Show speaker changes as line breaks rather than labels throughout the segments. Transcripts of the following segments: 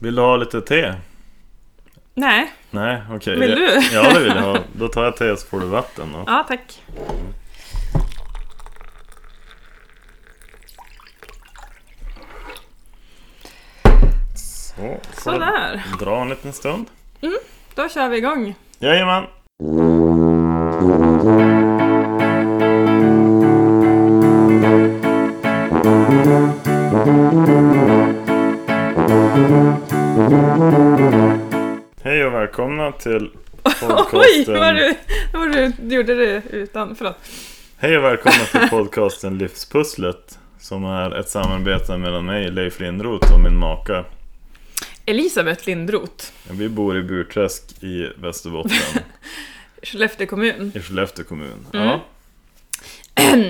Vill du ha lite te?
Nej,
Nej, okej.
Vill du?
Ja, det vill jag ha. Då tar jag te så får du vatten då.
ja tack.
Så, får du
Sådär,
Dra en liten stund.
då kör vi igång.
Jajamän! Hej och välkomna till podcasten...
Oj, vad du, vad du du gjorde det utan... Förlåt.
Hej och välkomna till podcasten Livspusslet som är ett samarbete mellan mig, Leif Lindroth och min maka.
Elisabeth Lindroth,
Vi bor i Burträsk i Västerbotten,
Skellefteå kommun.
i Skellefteå kommun.
Mm.
Ja,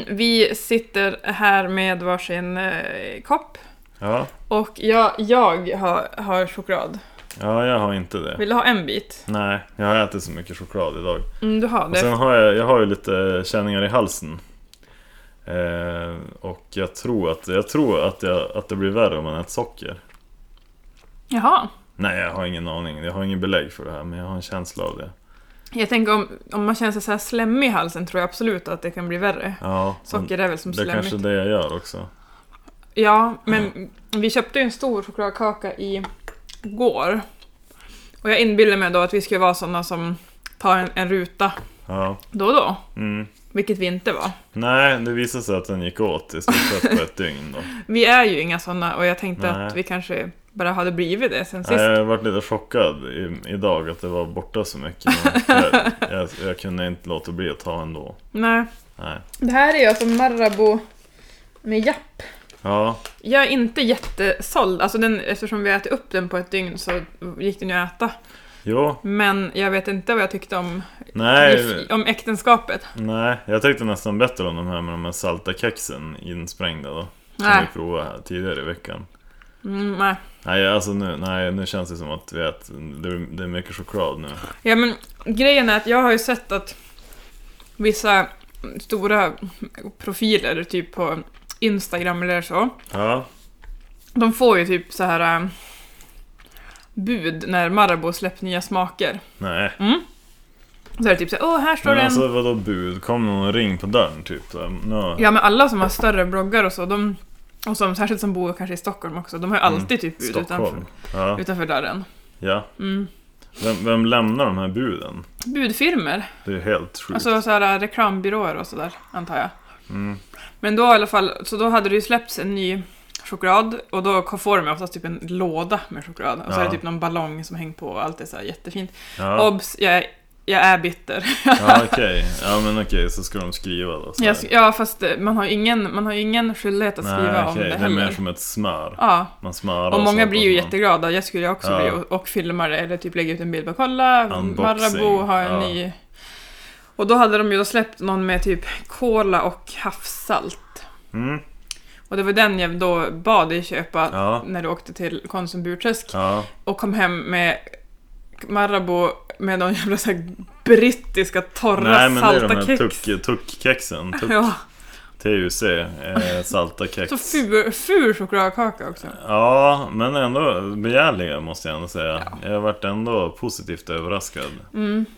Vi sitter här med varsin eh, kopp.
ja,
Och jag, jag har, har choklad.
ja, jag har inte det.
Vill du ha en bit?
Nej, jag har ätit så mycket choklad idag.
Mm, du har
Och sen
det.
har jag, jag har ju lite känningar i halsen. Eh, och jag tror, att, jag tror att, jag, att det blir värre om man äter socker.
Jaha.
Nej, jag har ingen aning. Jag har ingen belägg för det här, men jag har en känsla av det.
Jag tänker om, om man känner sig så här slemmig i halsen tror jag absolut att det kan bli värre.
Ja, men
Socker är väl som
Mm, det är
slemmigt.
kanske det jag gör också.
Ja, men vi köpte ju en stor chokladkaka i går. Och jag inbillade mig då att vi skulle vara sådana som tar en, en ruta
Ja.
då och då.
Mm.
Vilket vi inte var.
Nej, det visade sig att den gick åt i stort sett på ett dygn då.
Vi är ju inga sådana och jag tänkte
Nej.
att vi kanske bara hade blivit det sen
Nej,
sist.
jag har varit lite chockad i, idag att det var borta så mycket. Men jag, jag, jag kunde inte låta bli att ta ändå.
Nej.
Nej.
Det här är ju alltså Marabou med Japp.
Ja,
Jag är inte jättesåld, alltså den, eftersom vi ätit upp den på ett dygn så gick den ju att äta.
jo,
Men jag vet inte vad jag tyckte om,
nej,
om äktenskapet.
nej. Jag tyckte nästan bättre om de här med de här salta kexen insprängda då. Som
Nej.
vi provade här tidigare i veckan.
Mm, nej.
Nej, alltså nu, nej, nu känns det som att vi äter, det, är- det är mycket choklad nu.
Ja men grejen är att jag har ju sett att vissa stora profiler typ på Instagram eller så,
Ja,
de får ju typ så här äh, bud när Marabou släppt nya smaker.
nej.
Så är det typ så här, åh här står
Men
det en...
alltså vadå bud? Kom någon och ring på dörren typ? Så, här, nå.
Ja men alla som har större bloggar och så, de, och som, särskilt som bor kanske i Stockholm också, de har ju alltid typ bud utanför,
Mm. Stockholm. Ja,
utanför dörren.
ja.
Mm.
Vem, vem lämnar de här buden?
Budfirmer,
Det är helt sjukt.
alltså så här, reklambyråer och sådär antar jag.
Mm.
Men då i alla fall, så då hade det ju släppts en ny choklad och då får de oftast typ en låda med choklad och så
Ja.
är det typ någon ballong som hängt på och allt är så här jättefint.
Ja,
Obs! Jag, är- jag är bitter.
ja okej. Ja men okej, så ska de skriva då. Så här.
Jag, sk- ja fast eh, man har ju ingen, man har ju ingen skyldighet att skriva
Nej,
om
okej.
det
Det är mer
heller.
som ett smör.
Ja,
Man smörar
och många
så
blir ju
hoppas man-
jätteglada, jag skulle ju också
Ja.
bli och, och filma det eller typ lägga ut en bild och kolla,
Unboxing.
Marabou har en
Ja.
ny... Och då hade de ju då släppt någon med typ cola och havssalt.
Mm.
Och det var den jag då bad dig köpa
Ja.
när du åkte till Konsum Burträsk
Ja,
och kom hem med Marabou med de jävla så här brittiska torra
nej men det är
salta
de här
kex.
tuck- tuckkexen, tuck,
Ja,
TUC, eh, salta kex.
så ful, ful chokladkaka också.
Ja, men ändå begärliga måste jag ändå säga. Jag har varit ändå positivt överraskad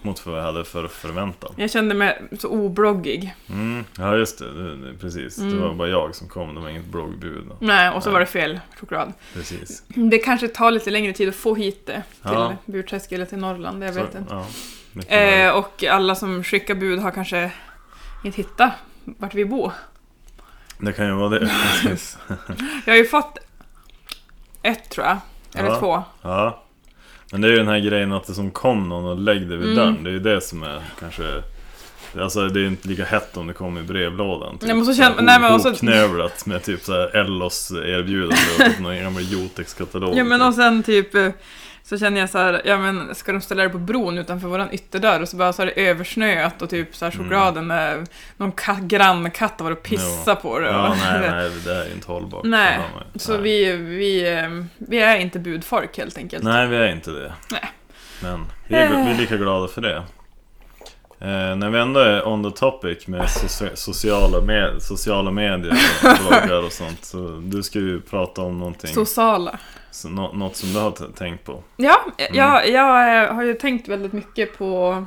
mot vad jag hade för förväntan.
Mm. Jag kände mig så obloggig.
Mm. Ja, just det, det, det precis.
Mm.
Det var bara jag som kom, det var inget bloggbud.
Nej, och så var det fel choklad.
Precis.
Det kanske tar lite längre tid att få hit det till
Ja.
Burträsk eller till Norrland, jag vet
Så,
inte.
ja, mycket möjligt.
Eh, och alla som skickar bud har kanske inte hittat vart vi bor.
det kan ju vara det. Precis.
Jag har ju fått ett tror jag, eller
Ja.
två.
Ja. Men det är ju den här grejen att det som kom någon och lägg det
Mm.
vid dörren. Det är ju det som är kanske... Alltså det är ju inte lika hett om det kom i brevlådan. Typ.
Nej, men så känner- nej, men alltså- också-
Hopknövlat med typ såhär Ellos erbjudande och typ någon gammal Jotex-katalog.
Ja men
typ.
och sen typ eh, så känner jag så här, ja men ska de ställa det på bron utanför våran ytterdörr och så bara så är det översnöat och typ så
Mm.
här chokladen är, någon ka- grannkatt har varit och pissat på det.
Ja,
och-
nej, nej, det där är ju inte hållbart.
Nej,
för mig.
så
nej.
Vi, vi, eh, vi är inte budfolk helt enkelt.
Nej, vi är inte det.
Nej.
Men vi är, vi är lika glada för det. Eh, när vi ändå är on the topic med socia- sociala, med sociala medier och bloggar och sånt. Så du ska ju prata om någonting,
Sociala.
så, nå- något som du har t- tänkt på.
Ja,
Mm.
jag, jag eh, har ju tänkt väldigt mycket på...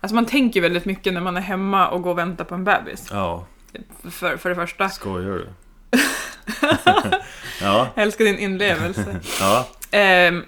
Alltså man tänker ju väldigt mycket när man är hemma och går och väntar på en bebis.
Ja,
För, för det första.
skojar du? ja,
Jag älskar din inlevelse.
ja,
Ehm,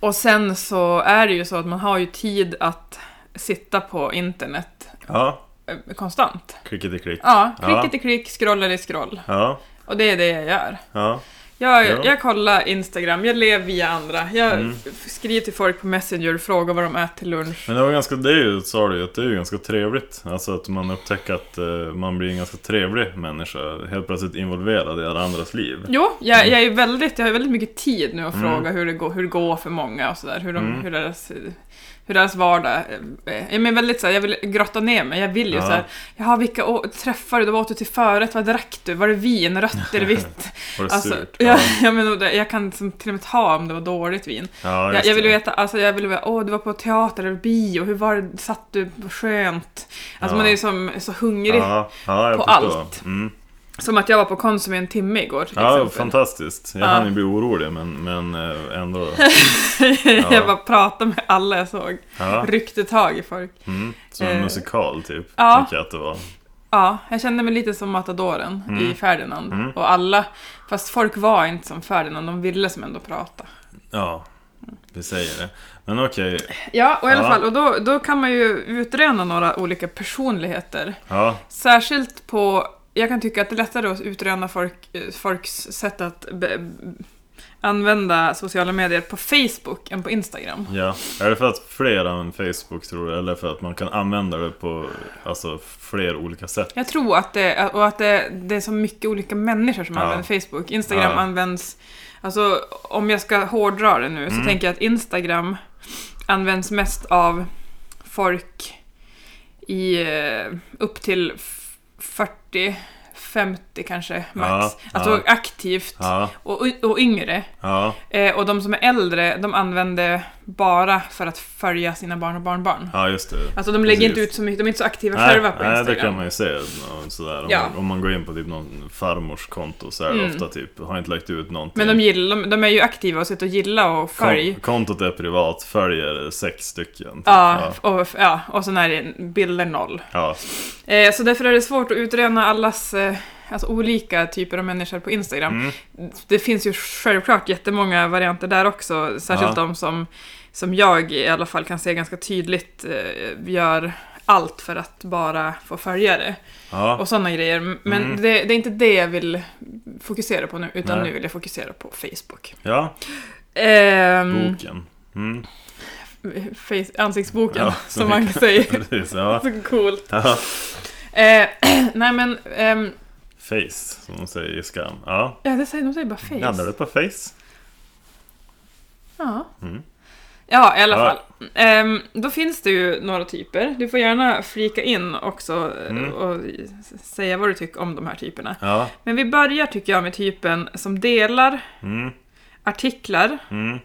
och sen så är det ju så att man har ju tid att sitta på internet
ja.
eh, konstant.
Klicket i klick.
Ja,
Ja.
klicket i klick, scrollar i scroll.
Ja,
Och det är det jag gör.
ja,
Jag,
Ja.
jag kollar Instagram, jag lever via andra. Jag
Mm.
f- skriver till folk på Messenger och frågar vad de äter till lunch.
men det var ganska, det är ju, sa du ju, att det är ju ganska trevligt. Alltså att man upptäcker att eh, man blir en ganska trevlig människa. Helt plötsligt involverad i alla andras liv.
Jo, jag, jag, är väldigt, jag har väldigt mycket tid nu att
Mm.
fråga hur det, går, hur det går för många och sådär. Hur, de,
Mm.
hur, deras, hur deras vardag är. Jag, men väldigt, så här, jag vill grotta ner mig. Jag vill ju
Ja.
såhär, jaha vilka å- träffar du? Då åt du till förrätt, vad drack du? Var det vin? Rött eller vitt?
Var det
alltså,
surt?
jag, jag, men, och det- jag kan som, till och med ta om det var dåligt vin.
ja
Jag,
just
jag vill
det.
veta, alltså jag vill veta, åh du var på teater eller bio, hur var det, satt du skönt? Alltså
Ja.
man är ju som, så hungrig.
ja, ja, jag
på
förstår.
allt.
Mm.
Som att jag var på Konsum i en timme igår till
Ja,
exempel.
fantastiskt. Jag
Ja.
hann ju bli orolig men, men eh, ändå. Ja.
jag bara pratade med alla jag såg.
Ja.
Ryckte tag i folk.
Mm. Som en
Eh,
musikal typ,
ja.
tycker jag att det var.
Ja, jag kände mig lite som matadoren
Mm.
i Ferdinand. Och alla, fast folk var inte som Ferdinand, de ville som ändå prata.
Ja, vi säger det. Men okej,
Ja, och i alla
Ja.
fall, och då, då kan man ju utröna några olika personligheter.
ja,
Särskilt på, jag kan tycka att det är lättare att utröna folk, eh, folks sätt att be, b- använda sociala medier på Facebook än på Instagram.
ja. Är det för att fler använder Facebook tror du? Eller för att man kan använda det på alltså, fler olika sätt?
Jag tror att det, och att det, det är så mycket olika människor som
Ja.
använder Facebook. Instagram
Ja.
används, alltså om jag ska hårdra det nu
Mm.
så tänker jag att Instagram används mest av folk i eh, upp till f- 40, 50 kanske max.
Ja,
Alltså
ja.
aktivt
Ja,
och, och yngre.
ja,
Eh, och de som är äldre, de använder bara för att följa sina barn och barnbarn.
ja just det.
Alltså de lägger inte
Precis.
ut så mycket, de är inte så aktiva
Nej,
själva på
nej,
Instagram.
det kan man ju se och sådär. Om,
Ja.
man, om man går in på typ någon farmors konto så är det
Mm.
ofta typ, har inte lagt ut någonting.
Men de, gillar, de, de är ju aktiva och sitter och gillar och följ.
Kon- kontot är privat, följer sex stycken. typ.
Ja, och, ja, och sen är det bilder noll.
ja.
Eh, så därför är det svårt att utröna allas eh, alltså olika typer av människor på Instagram.
Mm.
Det finns ju självklart jättemånga varianter där också, särskilt
Ja.
de som, som jag i alla fall kan se ganska tydligt eh, gör allt för att bara få följare
Ja.
och sådana grejer. Men
Mm.
det, det är inte det jag vill fokusera på nu, utan
Nej.
nu vill jag fokusera på Facebook.
ja,
Ehm,
boken. Mm.
face, ansiktsboken,
Ja,
som man säger.
Precis, ja.
Så coolt.
ja.
Eh, nej men, ehm,
Face, som de säger i Skam. Ja,
ja, det säger, de säger bara face.
landar du på face?
Ja.
Mm.
ja, i alla
Ja.
fall. Ehm, då finns det ju några typer. Du får gärna flika in också eh,
Mm.
och s- säga vad du tycker om de här typerna.
Ja.
Men vi börjar tycker jag med typen som delar
Mm.
artiklar.
Mm.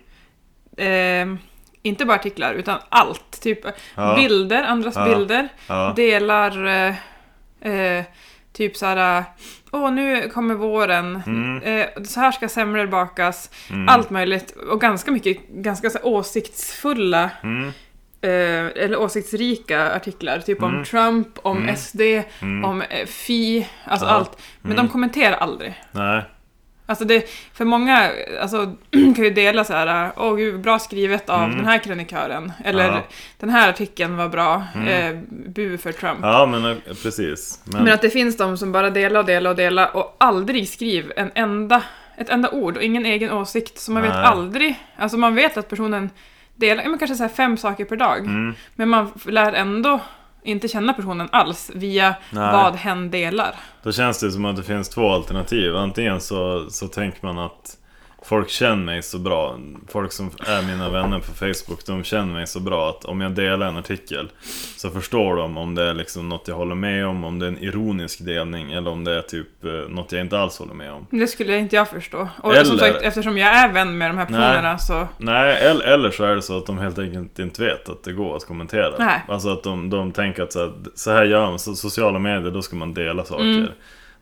ehm, inte bara artiklar, utan allt. Typ
Ja.
bilder, andras
Ja.
bilder.
Ja.
delar eh, eh, typ så här, åh nu kommer våren,
Mm.
eh, så här ska semlor bakas,
Mm.
allt möjligt och ganska mycket ganska så här, åsiktsfulla
Mm.
eh, eller åsiktsrika artiklar, typ om
Mm.
Trump, om
Mm.
SD,
Mm.
om eh, Fi, alltså
Ja.
allt. Men
Mm.
de kommenterar aldrig.
Nej.
Alltså det, för många alltså, kan ju dela så här, åh gud, bra skrivet av
Mm.
den här krönikören, eller
Ja.
den här artikeln var bra,
Mm.
eh, bu för Trump.
Ja, men eh, precis. Men,
Men att det finns de som bara delar och delar och delar och aldrig skriver en enda, ett enda ord och ingen egen åsikt. Så man vet
Nej.
aldrig, alltså man vet att personen delar, ja, men kanske så här fem saker per dag.
mm.
Men man f- lär ändå inte känna personen alls via
Nej.
vad hen delar.
Då känns det som att det finns två alternativ. Antingen så, så tänker man att Folk känner mig så bra. Folk som är mina vänner på Facebook, de känner mig så bra att om jag delar en artikel så förstår de om det är liksom något jag håller med om, om det är en ironisk delning eller om det är typ eh, något jag inte alls håller med om.
Det skulle inte jag förstå. Och som
Eller-
sagt, eftersom jag är vän med de här personerna så...
Nej, eller, eller så är det så att de helt enkelt inte vet att det går att kommentera.
Nej.
Alltså att de, de tänker att så här, så här gör man, så, sociala medier, då ska man dela saker.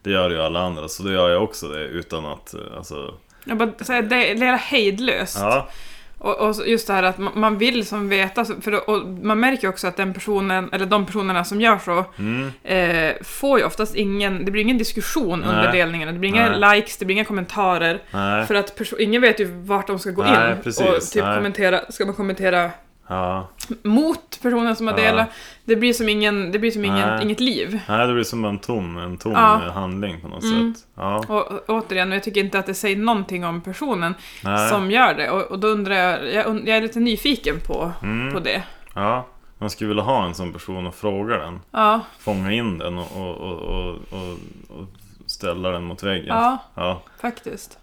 Det gör ju alla andra, så då gör jag också det utan att, eh, alltså,
Jag bara, så här, det är lera hejdlöst.
ja.
Och, och så just det här att man, man vill som veta, så- för då, och man märker ju också att den personen, eller de personerna som gör så,
Mm.
eh, får ju oftast ingen, det blir ingen diskussion under
Nej.
delningarna, det blir inga likes, det blir inga kommentarer.
Nej.
För att perso- ingen vet ju vart de ska gå
Nej,
in
precis.
och typ
Nej.
kommentera, ska man kommentera
Ja.
mot personen som har
Ja.
delat? Det blir som, ingen, det blir som ingen,
Nej.
inget liv.
Nej, det blir som en tom, en tom
Ja.
eh, handling på något
Mm.
sätt. Ja.
Och, och återigen, jag tycker inte att det säger någonting om personen
Nej.
som gör det. Och, och då undrar jag, jag, und- jag är lite nyfiken på,
Mm.
på det.
ja. Man skulle vilja ha en sån person och fråga den.
Ja,
Fånga in den och, och, och, och, och, och ställa den mot väggen.
ja,
Ja.
faktiskt.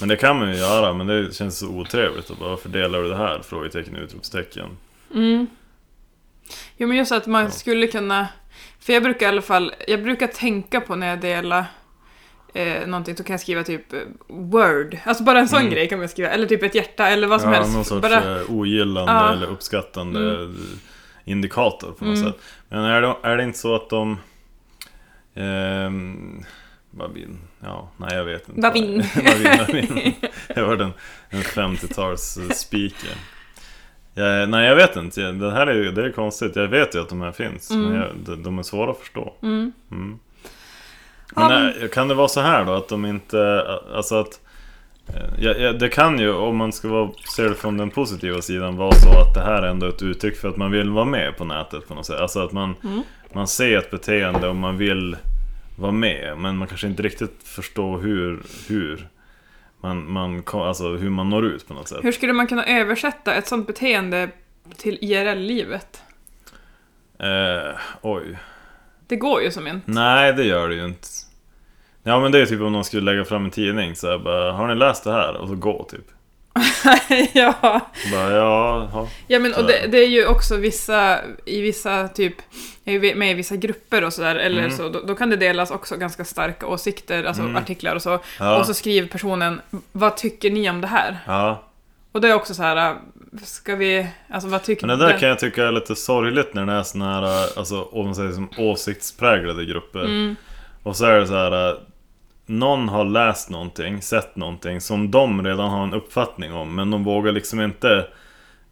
Men det kan man ju göra, men det känns så otrevligt. Och bara, varför delar du det här? Frågetecken, utropstecken.
Mm. Jo, men just att man
Ja.
skulle kunna... För jag brukar i alla fall, jag brukar tänka på när jag delar eh, någonting, så kan jag skriva typ eh, word. Alltså bara en sån
Mm.
grej kan man skriva. Eller typ ett hjärta eller vad som
ja,
helst.
Någon sorts
bara,
eh, ogillande
Ja.
eller uppskattande indikator på något
Mm.
sätt. Men är det, är det inte så att de... ehm, vad bin? Ja, nej jag vet inte.
Vad bin?
Vad bin, vad bin. Det var den, en 50-tals eh, speaker. Jag, nej jag vet inte, Jag- det här är ju det är konstigt. Jag vet ju att de här finns, men
Mm.
jag, de, de är svåra att förstå.
mm.
Mm.
Ja,
Men eh, kan det vara så här då att de inte, alltså att eh, ja, ja, det kan ju, om man ska vara, se det från den positiva sidan, vara så att det här är ändå ett uttryck för att man vill vara med på nätet på något sätt. Alltså att man,
Mm.
man ser ett beteende och man vill vara med, men man kanske inte riktigt förstår hur, hur, man, man, ko- alltså hur man når ut på något sätt.
Hur skulle man kunna översätta ett sånt beteende till IRL-livet?
Eh, oj.
Det går ju som inte.
Nej, det gör det ju inte. Ja men det är typ om någon skulle lägga fram en tidning så här, bara, har ni läst det här? Och så gå typ.
ja.
Bara, ja, ja.
Ja men och det,
Sådär.
det är ju också vissa, i vissa typ, jag är ju med i vissa grupper och sådär, eller
Mm.
så, då, då kan det delas också ganska starka åsikter, alltså
Mm.
artiklar och så.
Ja,
Och så skriver personen, vad tycker ni om det här?
ja.
Och det är också så här, äh, ska vi, alltså vad tycker
Men det där
ni?
kan jag tycka är lite sorgligt när det är såna här, alltså om man säger som åsiktspräglade grupper.
Mm,
Och så är det så här. eh, Någon har läst någonting, sett någonting som de redan har en uppfattning om men de vågar liksom inte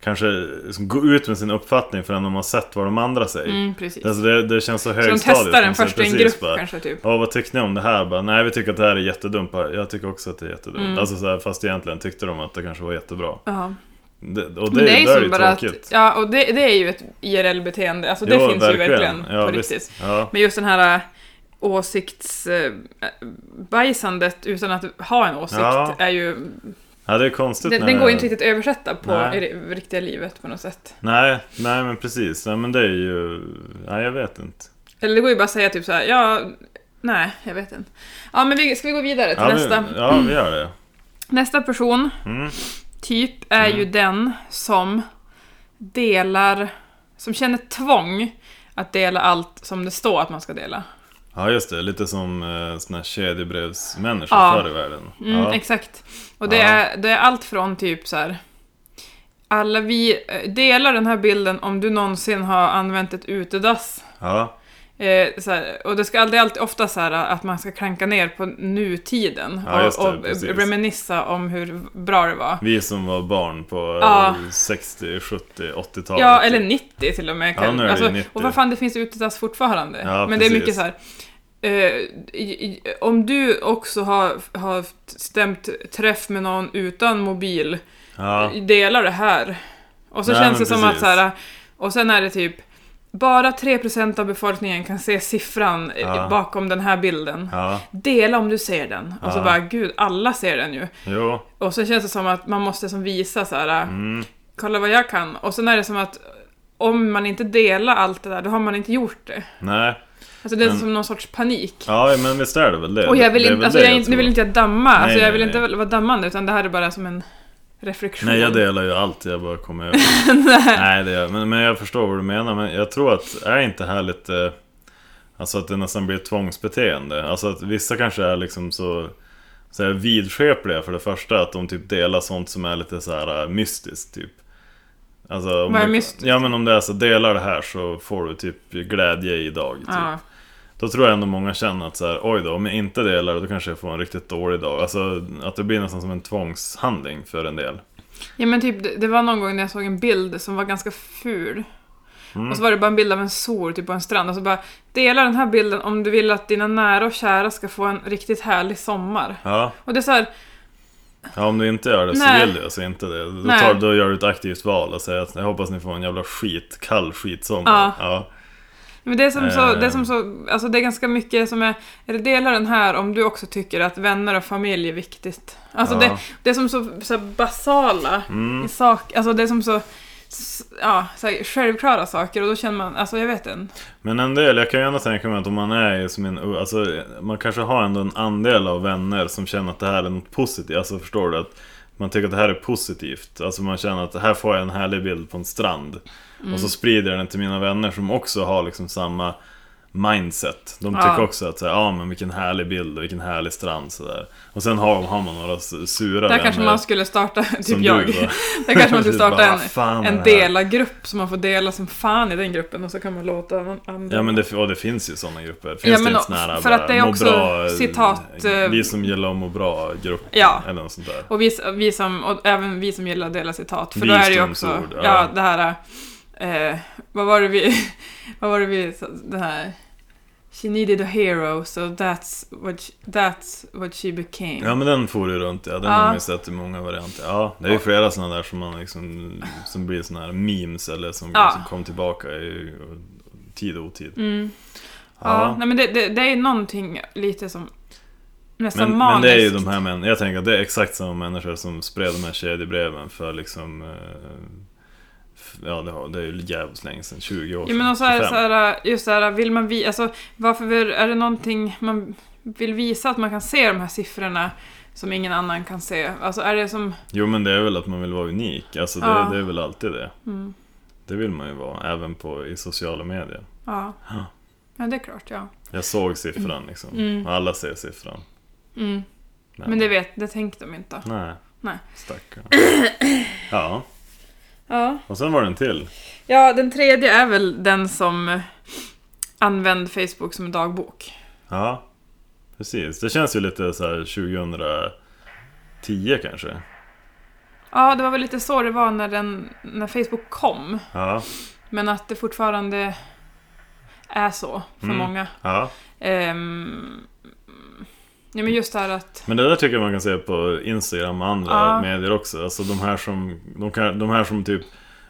kanske liksom, gå ut med sin uppfattning förrän de har sett vad de andra säger.
mm, precis.
Alltså det, det känns så
Så de
högstadiet.
testar den
de säger
först i en
precis
grupp
bara,
kanske typ.
Ja, vad tyckte ni om det här? Bara, nej, vi tycker att det här är jättedumt. Bara, Jag tycker också att det är jättedumt.
Mm.
Alltså så här, fast egentligen tyckte de att det kanske var jättebra.
Ja.
Det, och det,
Men det är ju
där är
som
ju
bara
tråkigt.
att, ja och det, det är ju ett IRL-beteende, alltså det
Jo,
finns ju verkligen
Ja,
på
visst.
riktigt.
Ja.
Men just den här äh, åsiktsbajsandet utan att ha en åsikt
Ja.
är ju...
ja, det är konstigt
Den,
när
den
det-
går inte riktigt att översätta på
Nej.
i det riktiga livet på något sätt.
Nej, nej men precis. Nej, men det är ju... Nej, jag vet inte.
Eller det går ju bara att säga typ så här, ja... Nej, jag vet inte. Ja, men vi, ska vi gå vidare till
Ja,
nästa?
Vi, ja, vi gör det.
Nästa person,
Mm.
typ, är
Mm.
ju den som delar... Som känner tvång att dela allt som det står att man ska dela.
Ja, just det. Lite som eh, såna här kedjebrevsmänniskor
Ja.
förr i världen.
Mm,
ja.
Exakt. Och det,
Ja.
är, det är allt från typ så här. Alla vi eh, delar den här bilden om du någonsin har använt ett utedass.
ja.
Eh, så här, och det ska aldrig alltid ofta så här att man ska klanka ner på nutiden
Ja, just det,
och, och
precis.
reminissa om hur bra det var.
Vi som var barn på eh,
Ja.
60, 70, 80-talet.
Ja, eller 90 till och med. alltså,
Ja, nu är det ju 90.
och vad fan, det finns utedass fortfarande.
Ja,
Men det är
precis.
mycket så här. eh, i- i- om du också har, har stämt träff med någon utan mobil
Ja.
delar det här. Och så
Nej,
känns
men
det som att
precis.
så här, och sen är det typ bara 3% av befolkningen kan se siffran eh,
Ja.
bakom den här bilden.
Ja,
Dela om du ser den. Och så
Ja.
bara, gud, alla ser den ju.
jo.
Och så känns det som att man måste som visa så här, äh,
Mm.
kolla vad jag kan. Och sen är det som att om man inte delar allt det där, då har man inte gjort det.
Nej.
Alltså det är
Men-
som någon sorts panik.
Ja, men visst är det väl det?
Och jag vill
det är
inte,
väl
alltså
det
jag, inte- nu
tror.
vill inte jag damma,
Nej,
alltså jag
nej,
vill
nej.
inte vara dammande utan det här är bara som en reflektion.
Nej, jag delar ju allt jag bara kommer över. Nej, det gör jag. men, men jag förstår vad du menar. Men jag tror att, är inte det här lite... Alltså att det nästan blir ett tvångsbeteende. Alltså att vissa kanske är liksom så... Så här vidskepliga för det första, att de typ delar sånt som är lite så här äh, mystiskt typ. Alltså, om
Vad är
du-
mystiskt?
Ja men om det är så, delar det här så får du typ glädje idag. Typ.
Ja.
Då tror jag ändå många känner att så här, oj då, om jag inte delar det då kanske jag får en riktigt dålig dag. Alltså att det blir nästan som en tvångshandling för en del.
ja men typ, det, det var någon gång när jag såg en bild som var ganska ful.
Mm.
Och så var det bara en bild av en sol typ på en strand och så bara Dela den här bilden om du vill att dina nära och kära ska få en riktigt härlig sommar.
Ja,
Och det är så här,
ja om du inte gör det
Nej.
så vill du alltså inte det. Då,
Nej.
tar, då gör du ett aktivt val och säger att jag hoppas ni får en jävla skit, kall skitsommar.
Ja.
Ja.
Men det är som så,
Eh.
det är som så, alltså det är ganska mycket som är, eller dela den här om du också tycker att vänner och familj är viktigt. Alltså
Ja.
det, det är som så, så här basala
Mm.
saker, alltså det är som så, s- ja, så här, självklara saker och då känner man, alltså jag vet inte.
Men en del, jag kan ju ändå tänka mig att om man är i som en, alltså man kanske har ändå en andel av vänner som känner att det här är något positivt. Alltså förstår du? att Man tycker att det här är positivt. Alltså man känner att här får jag en härlig bild på en strand. Och
Mm.
så sprider jag den till mina vänner som också har liksom samma mindset. De tycker
Ja.
också att så här, ja men vilken härlig bild och vilken härlig strand sådär. Och sen har, har man några s- sura
Där kanske
vänner.
man skulle starta, typ
eh, som
jag,
du, va?
där kanske man skulle
Precis, bara,
starta en,
"Vad fan är det
en
här?"
dela-grupp som man får dela som fan i den gruppen och så kan man låta någon annan.
Ja men det, och det finns ju sådana grupper. Finns
Ja, men
det inte
och-
såna här
för
bara,
att det är
må
också
bra, eh,
citat, eh,
Vi som gillar att må bra grupp
Ja.
eller något sånt där.
Och, vi, vi som, och även vi som gillar att dela citat. För då är det ju också,
Visdomsord,
ja.
ja.
det här, eh, vad var det vi, vad var det vi, sa- den här, She needed a hero, so that's what she, that's what she became.
Ja men den for ju runt ja, den
Ja.
har man ju sett i många varianter. Ja, det är ju flera sådana där som man liksom, som blir sådana här memes eller som,
Ja.
som kom tillbaka i tid och otid.
Mm. Ja,
Ja.
nej men det, det, det är någonting lite som, nästan
Men, men
maniskt.
det är ju de här män, jag tänker att det är exakt samma människor som spred de här kedjebreven för liksom eh, f- Ja det, har, det är ju jävligt länge sedan, 20 år
Ja men och så är
25.
det så här, just det här, vill man vi, alltså varför vill, är det någonting man vill visa att man kan se de här siffrorna som ingen annan kan se? Alltså är det som,
Jo men det är väl att man vill vara unik, alltså det,
Ja.
det är väl alltid det.
mm.
Det vill man ju vara, även på, i sociala medier.
Ja.
Ja.
Ja, det är klart, ja.
Jag såg siffran liksom,
Mm.
och alla ser siffran.
Mm. Men det vet, det tänkte de inte.
Nej.
Nej.
Stackarn. Ja,
Ja.
och sen var det en till.
ja, den tredje är väl den som eh, använd Facebook som dagbok.
Ja, precis. Det känns ju lite så här 2010 kanske.
Ja, det var väl lite så det var när, den, när Facebook kom.
Ja,
Men att det fortfarande är så för
Mm.
många.
ja.
Ehm, ja, men just det här att...
Men det där tycker jag man kan se på Instagram och andra
Ja.
medier också. Alltså de här som, de kan, de här som typ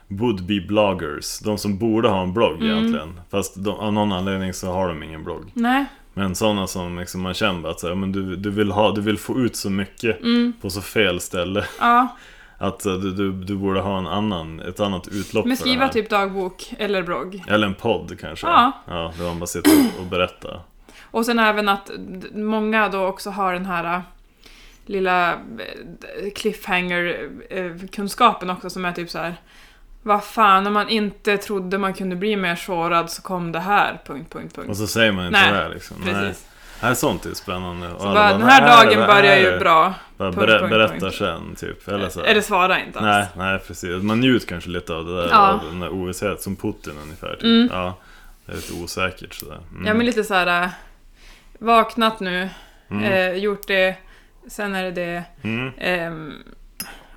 would be bloggers. De som borde ha en blogg
Mm.
egentligen. Fast de, av någon anledning så har de ingen blogg.
Nej.
Men sådana som liksom man känner att så här, men du, du, vill ha, du vill få ut så mycket
Mm,
på så fel ställe
ja.
att eh, du, du, du borde ha en annan, ett annat utlopp
Men
för det
skriva
här.
typ dagbok eller blogg.
Eller en podd kanske.
Ja.
ja där man bara sitter och berättar.
Och sen även att d- många då också har den här äh, lilla äh, cliffhanger-kunskapen också som är typ så här. Vad fan, om man inte trodde man kunde bli mer sårad så kom det här... Punkt, punkt,
Och
punkt.
så säger man inte
Nej,
det här liksom. Nej.
Precis.
Nej, sånt är ju spännande. Och
Så
alla
bara,
bara,
den här
"Vad är det?
dagen
Vad
börjar
är
ju
det?"
bra.
Bara
Punkt,
berä-
punkt,
berätta
punkt.
sen typ. Eller så. här.
Eller svara inte alls.
Nej, nej precis. Man njuter kanske lite av det där,
Ja.
av den där ovissheten, som Putin ungefär. Typ.
Mm.
Ja, det är lite osäkert sådär. Mm.
Ja, men lite så här... äh, Vaknat nu,
mm.
eh, gjort det, sen är det det.
Mm.
Ehm,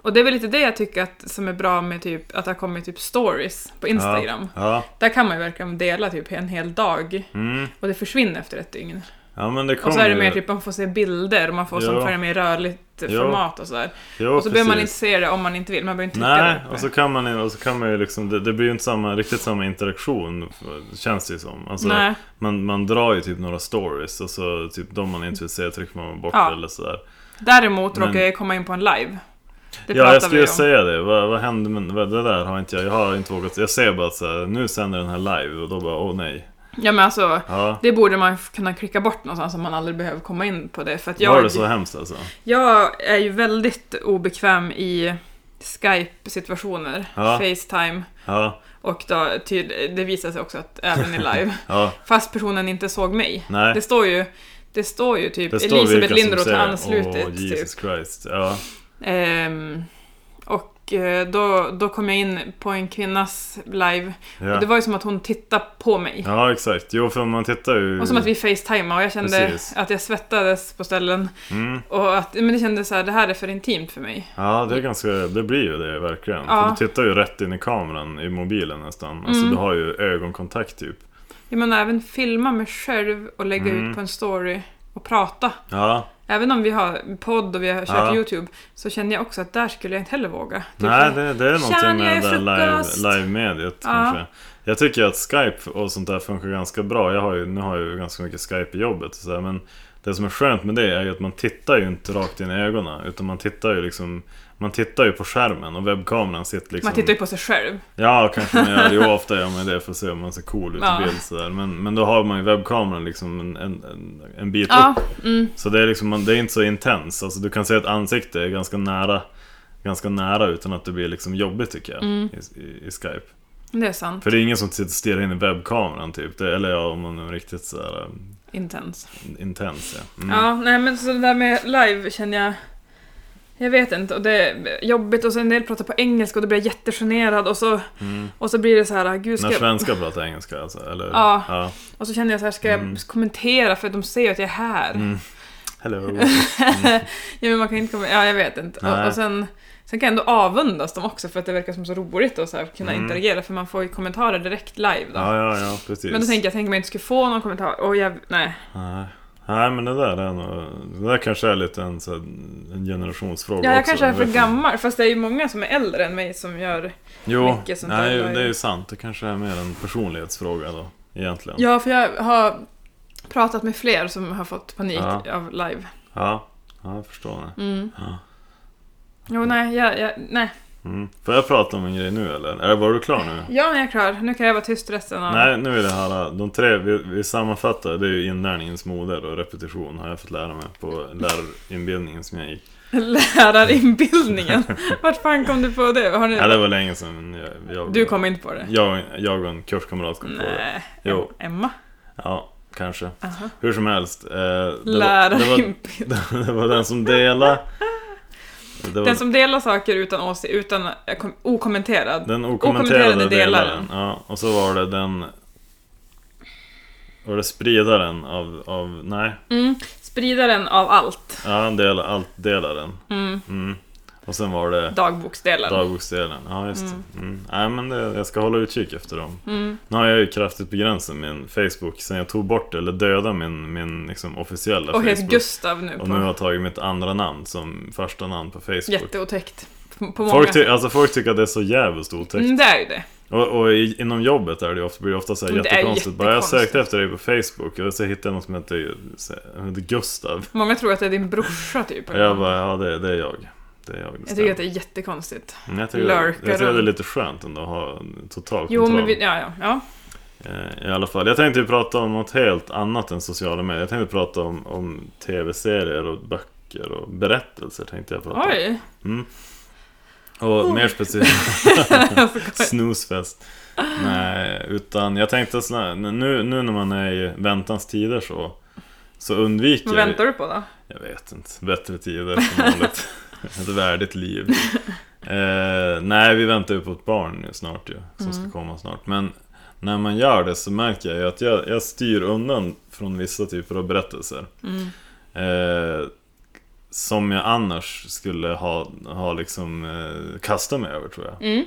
och det är väl lite det jag tycker att, som är bra med typ, att det har kommit typ stories på Instagram.
Ja,
Där kan man ju verkligen dela typ en hel dag
ja. Mm.
och det försvinner efter ett dygn.
ja men det kommer
Och så är det
ju-
mer typ man får se bilder och man får som
Ja.
följa med i rörligt eh,
Ja,
format och sådär.
Jo,
Och så behöver man
precis.
inte se det om man inte vill, man behöver inte trycka
Nej,
där uppe.
och så kan man, ju- och så kan man ju liksom, det, det blir ju inte samma, riktigt samma interaktion känns det ju som. Alltså,
Nej.
man, man drar ju typ några stories och så typ de man är intresserad trycker man bort
Ja.
eller sådär.
Däremot
Men-
råkar jag komma in på en live. Det
ja, jag
pratar vi
skulle
om.
säga det. Vad, vad hände med vad, det där? har inte jag, jag har inte vågat. Jag ser bara att så här, nu sänder den här live och då bara åh nej.
Ja men alltså,
Ja.
det borde man kunna klicka bort någonstans om man aldrig behöver komma in på det. För att
Var
jag,
det så hemskt alltså?
jag är ju väldigt obekväm i Skype-situationer,
Ja.
Facetime.
Ja,
Och då, tyd- det visar sig också att även i live,
ja,
fast personen inte såg mig.
nej.
Det står ju, det står ju typ
Det står vilka
Elisabeth
som
Lindroth har
säger,
anslutit.
Åh,
typ.
Jesus Christ. Ja,
Ehm, och eh, då, då kom jag in på en kvinnas live. Och det
ja.
var ju som att hon tittade på mig.
ja, exakt. Jo, för man tittar ju...
Och som att vi facetimade och jag kände
Precis.
att jag svettades på ställen.
Mm.
Och att, men det kändes så här, det här är för intimt för mig.
Ja, det, är ganska, det blir ju det verkligen.
Ja.
För du tittar ju rätt in i kameran i mobilen nästan. Alltså
Mm.
du har ju ögonkontakt typ.
Jag menar även filma mig själv och lägga
Mm.
ut på en story och prata.
Ja,
Även om vi har podd och vi har kört
Ja.
YouTube så känner jag också att där skulle jag inte heller våga. Typ
nej
så-
det, det är någonting
Tjena,
med
jag
det
är
där
frukost.
live, live-mediet
Ja.
kanske. Jag tycker att Skype och sånt där funkar ganska bra. Jag har ju, nu har jag ju ganska mycket Skype i jobbet och så där, men det som är skönt med det är ju att man tittar ju inte rakt in i ögonen utan man tittar ju liksom man tittar ju på skärmen och webbkameran sitter liksom...
Man tittar ju på sig själv.
Ja, kanske man gör. Jo, ofta gör man det för att se om man ser cool ut
Ja.
i bild sådär. Men, men då har man ju webbkameran liksom en, en, en, en bit upp
Ja, mm.
Så det är liksom, man- det är inte så intens. Alltså du kan se att ansikte är ganska nära, ganska nära utan att det blir liksom jobbigt tycker jag
Mm.
i, i, i Skype.
det är sant.
För det är ingen som sitter och stirrar in i webbkameran typ. Det, eller ja, om man är riktigt så här eh,
Intens.
intens. Ja. Mm.
Ja, nej men så det där med live känner jag... Jag vet inte, och det är jobbigt och så en del pratar på engelska och då blir jag jättegenerad och så,
Mm.
och så blir det så här, "Ah, gud ska
När
jag...
svenskar pratar engelska alltså? Eller?
Ja.
ja.
Och så känner jag så här, ska jag
Mm.
kommentera för de ser ju att jag är här?
Mm. Hello.
ja men man kan inte komma, ja jag vet inte. Och,
Nej.
och sen, sen kan jag ändå avundas dem också för att det verkar som så roligt att så här kunna
Mm.
interagera för man får ju kommentarer direkt live då.
Ja, ja, ja, precis.
men då tänker jag, tänk om jag inte skulle få någon kommentar, och jag, nej.
Nej. Nej, men det där är nog, det där kanske är lite en, så här, en generationsfråga
Ja, jag
också.
kanske är för
vet inte.
gammal, fast det är ju många som är äldre än mig som gör...
Jo,
Mycket sånt
nej,
där var ju-
det är ju sant. Det kanske är mer en personlighetsfråga då, egentligen.
Ja, för jag har pratat med fler som har fått panik
Ja.
av live.
Ja, ja jag förstår det.
Mm.
Ja.
Jo, nej, jag, jag, nej.
Mm. Får jag prata om en grej nu eller? Är, var du klar nu?
Ja, jag är klar. Nu kan jag vara tyst resten av...
Nej, nu är det här. De tre vi, vi sammanfattar, det är ju inlärningens moder och repetition har jag fått lära mig på lärarinbildningen som jag gick.
Lärarinbildningen. Vart fan kom du på det? Har ni...
Ja, det var länge sedan jag... jag
Du kom inte på det?
jag, jag och en kurskamrat kom på det.
Nej.
Jo.
Emma?
Ja, kanske.
Aha.
Hur som helst. Eh, det, var, det, var,
Lärarinbildning.
det var den som delade. Det var
Den som delar saker utan åsikt, utan eh, kom- okommenterad.
Den
okommenterade
okommenterade
delaren.
delaren. Ja, och så var det den... Var det spridaren av... av nej,
Mm. Spridaren av allt.
ja, del, allt delaren.
Mm.
Mm. Och sen var det
Dagboksdelaren.
dagboksdelen. Ja, just det. Mm. Nej, men det, jag ska hålla utkik efter dem.
Mm.
Nu har jag ju kraftigt begränsat min Facebook sen jag tog bort eller dödade min, min liksom, officiella
Och
Facebook.
heter Gustav nu.
och nu har
På...
jag tagit mitt andra namn som första namn på Facebook.
Jätteotäckt. På, på många
Folk, ty-
sätt.
alltså, folk tycker att det är så jävligt otäckt.
Mm, det är ju det.
Och, och i, inom jobbet är det ju ofta, blir det ofta så här
Men det är
jättekonstigt. Bara jag
jättekonstigt.
sökte efter dig på Facebook och så hittade jag någon som hette, som hette Gustav.
Många tror att det är din brorsa typ.
Och jag bara, ja det, det är jag. Det är jag. det
jag tycker
stämmer.
att det är jättekonstigt.
Men jag tycker, jag
lurkar
tycker att det är
runt.
lite skönt ändå att ha en total
Jo,
kontroll.
men vi, ja, ja, ja.
Eh, I alla fall. Jag tänkte ju prata om något helt annat än sociala medier. Jag tänkte prata om, om tv-serier och böcker och berättelser. Tänkte jag prata om.
Oj!
Mm. Och mer specifikt snusfest. Nej, utan jag tänkte sådär, nu, nu när man är i väntans tider så, så undviker
Vad väntar du på då?
jag vet inte, bättre tider som vanligt. Ett värdigt liv. Eh, nej, vi väntar ju på ett barn nu snart ju, som ska komma snart. Men när man gör det så märker jag ju att jag, jag styr undan från vissa typer av berättelser.
Mm.
Eh, som jag annars skulle ha, ha liksom eh, kastat mig över tror jag.
Mm.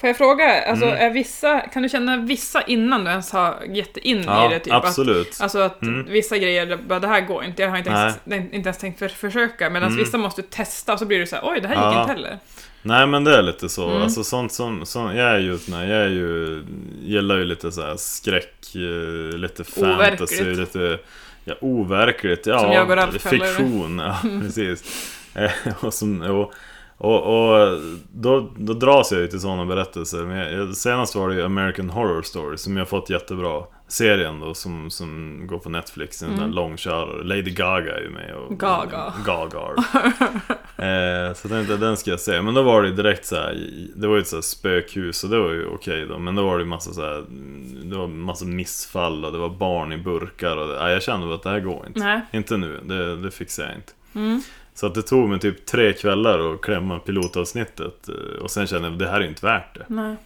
Får jag fråga, alltså,
Mm.
är vissa, kan du känna vissa innan du ens har gett in i det? Typ?
absolut.
Att, alltså att
Mm.
vissa grejer, det- bara, det här går inte, jag har inte ens, inte ens tänkt för, försöka. Medan
Mm.
vissa måste du testa och så blir du så här, oj det här gick
Ja.
inte heller.
Nej men det är lite så.
Mm.
Alltså sånt som, som jag är ju, nej, jag är ju, gillar ju lite så här skräck, eh, lite
Overkligt.
fantasy, lite, ja overkligt, ja
Som jag och Ralf kallar det. Mm.
fiktion, ja precis. Eh, och som, och, Och, och då, då dras jag ju till sådana berättelser. Men jag, jag, senast var det ju American Horror Story som jag fått jättebra. Serien då som, som går på Netflix, en mm. långkörare. Lady Gaga är ju med. Och,
Gaga.
Gagar. eh, så jag tänkte den ska jag se. Men då var det direkt så här, det var ju ett så här spökhus och det var ju okej då. Men då var det ju massa så här, mm, det var massa missfall och det var barn i burkar. Och det, nej, jag kände att det här går inte.
Nej.
Inte nu, det, det fixar jag inte.
Mm.
Så att det tog mig typ tre kvällar att klämma pilotavsnittet eh, och sen kände jag det här är ju inte värt det.
Nej.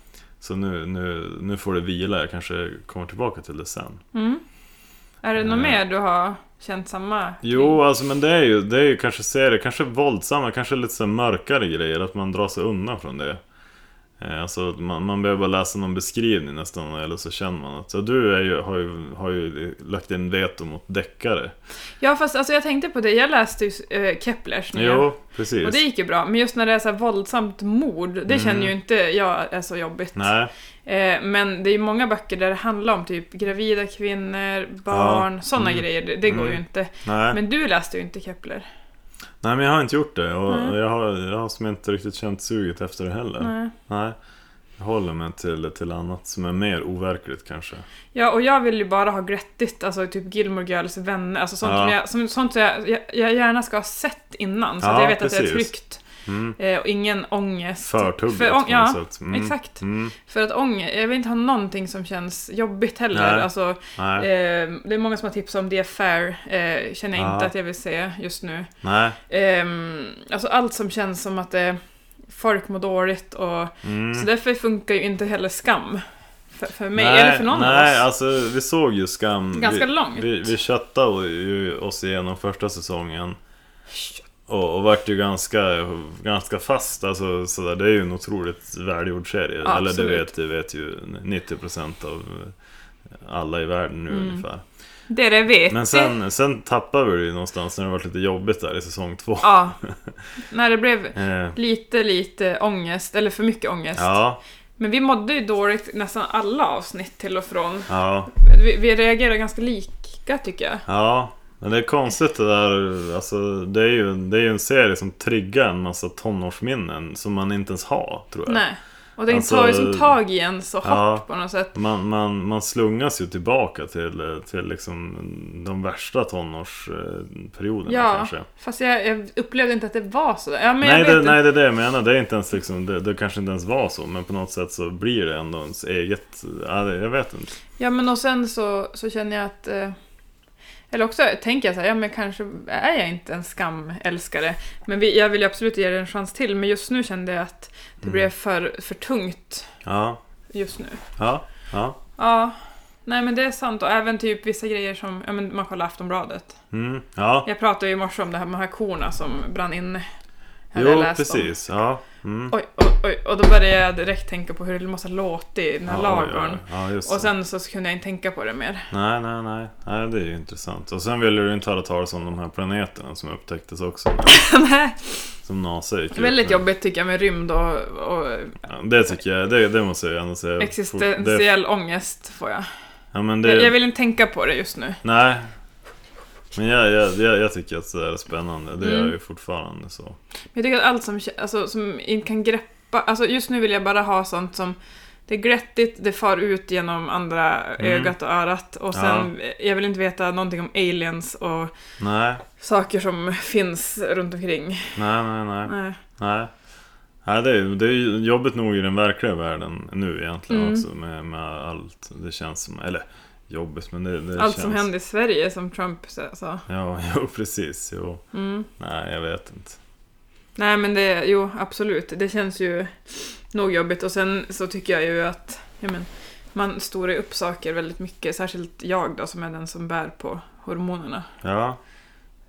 Så nu, nu, nu får det vila, jag kanske kommer tillbaka till det sen.
Mm. Är det något
Eh.
mer du har känt samma kring?
Jo, alltså men det är ju, det är ju kanske serier, kanske våldsamma, kanske lite så här mörkare grejer, att man drar sig undan från det. Eh, Alltså att man, man behöver bara läsa någon beskrivning nästan, eller så känner man att så du är ju, har, ju, har ju lagt in veto mot deckare.
Ja, fast alltså, jag tänkte på det. Jag läste ju eh, Keplers nya.
Jo, precis.
Och det gick ju bra, men just när det är så här våldsamt mord, det känner ju inte jag är så jobbigt.
Mm. Nej,
Eh, men det är ju många böcker där det handlar om typ gravida kvinnor, barn,
Ja.
sådana
Mm.
grejer. Det, det går ju
Mm.
inte.
nej.
Men du läste ju inte Kepler.
Nej men jag har inte gjort det och
Nej.
jag har, jag har som inte riktigt känt suget efter det heller. Nej.
Nej.
Jag håller mig till, till annat som är mer overkligt kanske.
Ja, och jag vill ju bara ha grättigt, alltså typ Gilmore Girls vänner, alltså sånt,
Ja.
som, jag, som, sånt som jag, jag, jag gärna ska ha sett innan. Så
Ja,
att jag vet att det är
precis.
tryggt.
Mm.
Eh, och ingen ångest.
Förtuggat
För, ång-
på något
ja,
sätt. Mm.
exakt.
Mm.
För att ångest, jag vill inte ha någonting som känns jobbigt heller.
Nej.
Alltså,
Nej.
Eh, det är många som har tips om The Affair, eh, känner jag
Ja.
inte att jag vill se just nu.
Nej.
Ehm, alltså allt som känns som att det, folk mår dåligt och
Mm.
så därför funkar ju inte heller skam. För, för mig,
nej,
eller för någon
nej,
av oss.
alltså vi såg ju Skam.
Ganska
vi,
långt.
Vi, vi köttade ju oss igenom första säsongen. Och, och vart ju ganska, ganska fast. Alltså, sådär. Det är ju en otroligt välgjord serie.
Ja,
Eller det
absolut.
vet, det vet ju 90% av alla i världen nu
Mm.
ungefär.
Det är det vet.
Men sen, sen tappade vi det ju någonstans när det var lite jobbigt där i säsong två.
Ja. När det blev
Eh,
lite, lite ångest, eller för mycket ångest.
ja,
Men vi mådde ju dåligt nästan alla avsnitt till och från.
ja,
Vi, vi reagerade ganska lika tycker jag.
ja. Men det är konstigt det där. Alltså, det, är ju, det är ju en serie som triggar en massa tonårsminnen som man inte ens har, tror jag.
Nej. Och den
Alltså-
tar ju som tag i en så hårt
Ja.
på något sätt.
Man, man, man slungas ju tillbaka till, till liksom de värsta tonårsperioderna
Ja,
kanske.
fast jag, jag upplevde inte att det var så. Ja, men
Nej
jag vet
det,
inte.
nej, det är det jag menar. Det, är inte ens liksom, det, det kanske inte ens var så, men på något sätt så blir det ändå ens eget... Ja, det- jag vet inte.
Ja, men och sen så, så känner jag att... Eh, eller också tänker jag så här, ja men kanske är jag inte en skamälskare. Men vi, jag vill ju absolut ge det en chans till, men just nu kände jag att det
Mm.
blev för, för tungt
Ja,
just nu.
ja, ja.
Ja. Nej men det är sant och även typ vissa grejer som, ja men man kollar Aftonbladet.
Mm, ja,
Jag pratade ju i morse om det här med de här korna som brann inne. Hade jag
jo
läst om.
precis. Ja. Mm.
Oj, oj, oj, och då började jag direkt tänka på hur det måste ha låtit i den
Ja,
här ladugården.
oj, oj. Ja, just
Och
det.
sen så kunde jag inte tänka på det mer.
Nej, nej, nej. Nej, det är ju intressant. Och sen ville du inte höra talas om de här planeterna som upptäcktes också.
Nej,
Som NASA gick ut
Väldigt
med.
jobbigt tycker jag med rymd och, och
Ja, det tycker jag, det, det måste jag ändå säga. Det,
existentiell ångest får jag.
ja, men det,
jag. Jag vill inte tänka på det just nu.
Nej. Men jag, jag, jag, jag tycker att det är spännande. Det
Mm.
är ju fortfarande så.
Men jag tycker att allt som, kä- alltså, som inte kan greppa, alltså just nu vill jag bara ha sånt som det är glättigt, det far ut genom andra
Mm.
ögat och örat och sen, jag vill inte veta någonting om aliens och
Nej,
saker som finns runt omkring.
nej, nej, nej.
Nej.
Nej. Nej, det är, ju- det är ju jobbigt nog i den verkliga världen nu egentligen
Mm.
också med, med allt. Det känns som, eller jobbigt men det, det
Allt
känns...
som händer i Sverige som Trump sa.
Ja, jo, precis. Jo.
Mm.
Nej, jag vet inte.
Nej men det, jo absolut, det känns ju nog jobbigt och sen så tycker jag ju att ja, men, man storar ju upp saker väldigt mycket, särskilt jag då som är den som bär på hormonerna.
Ja.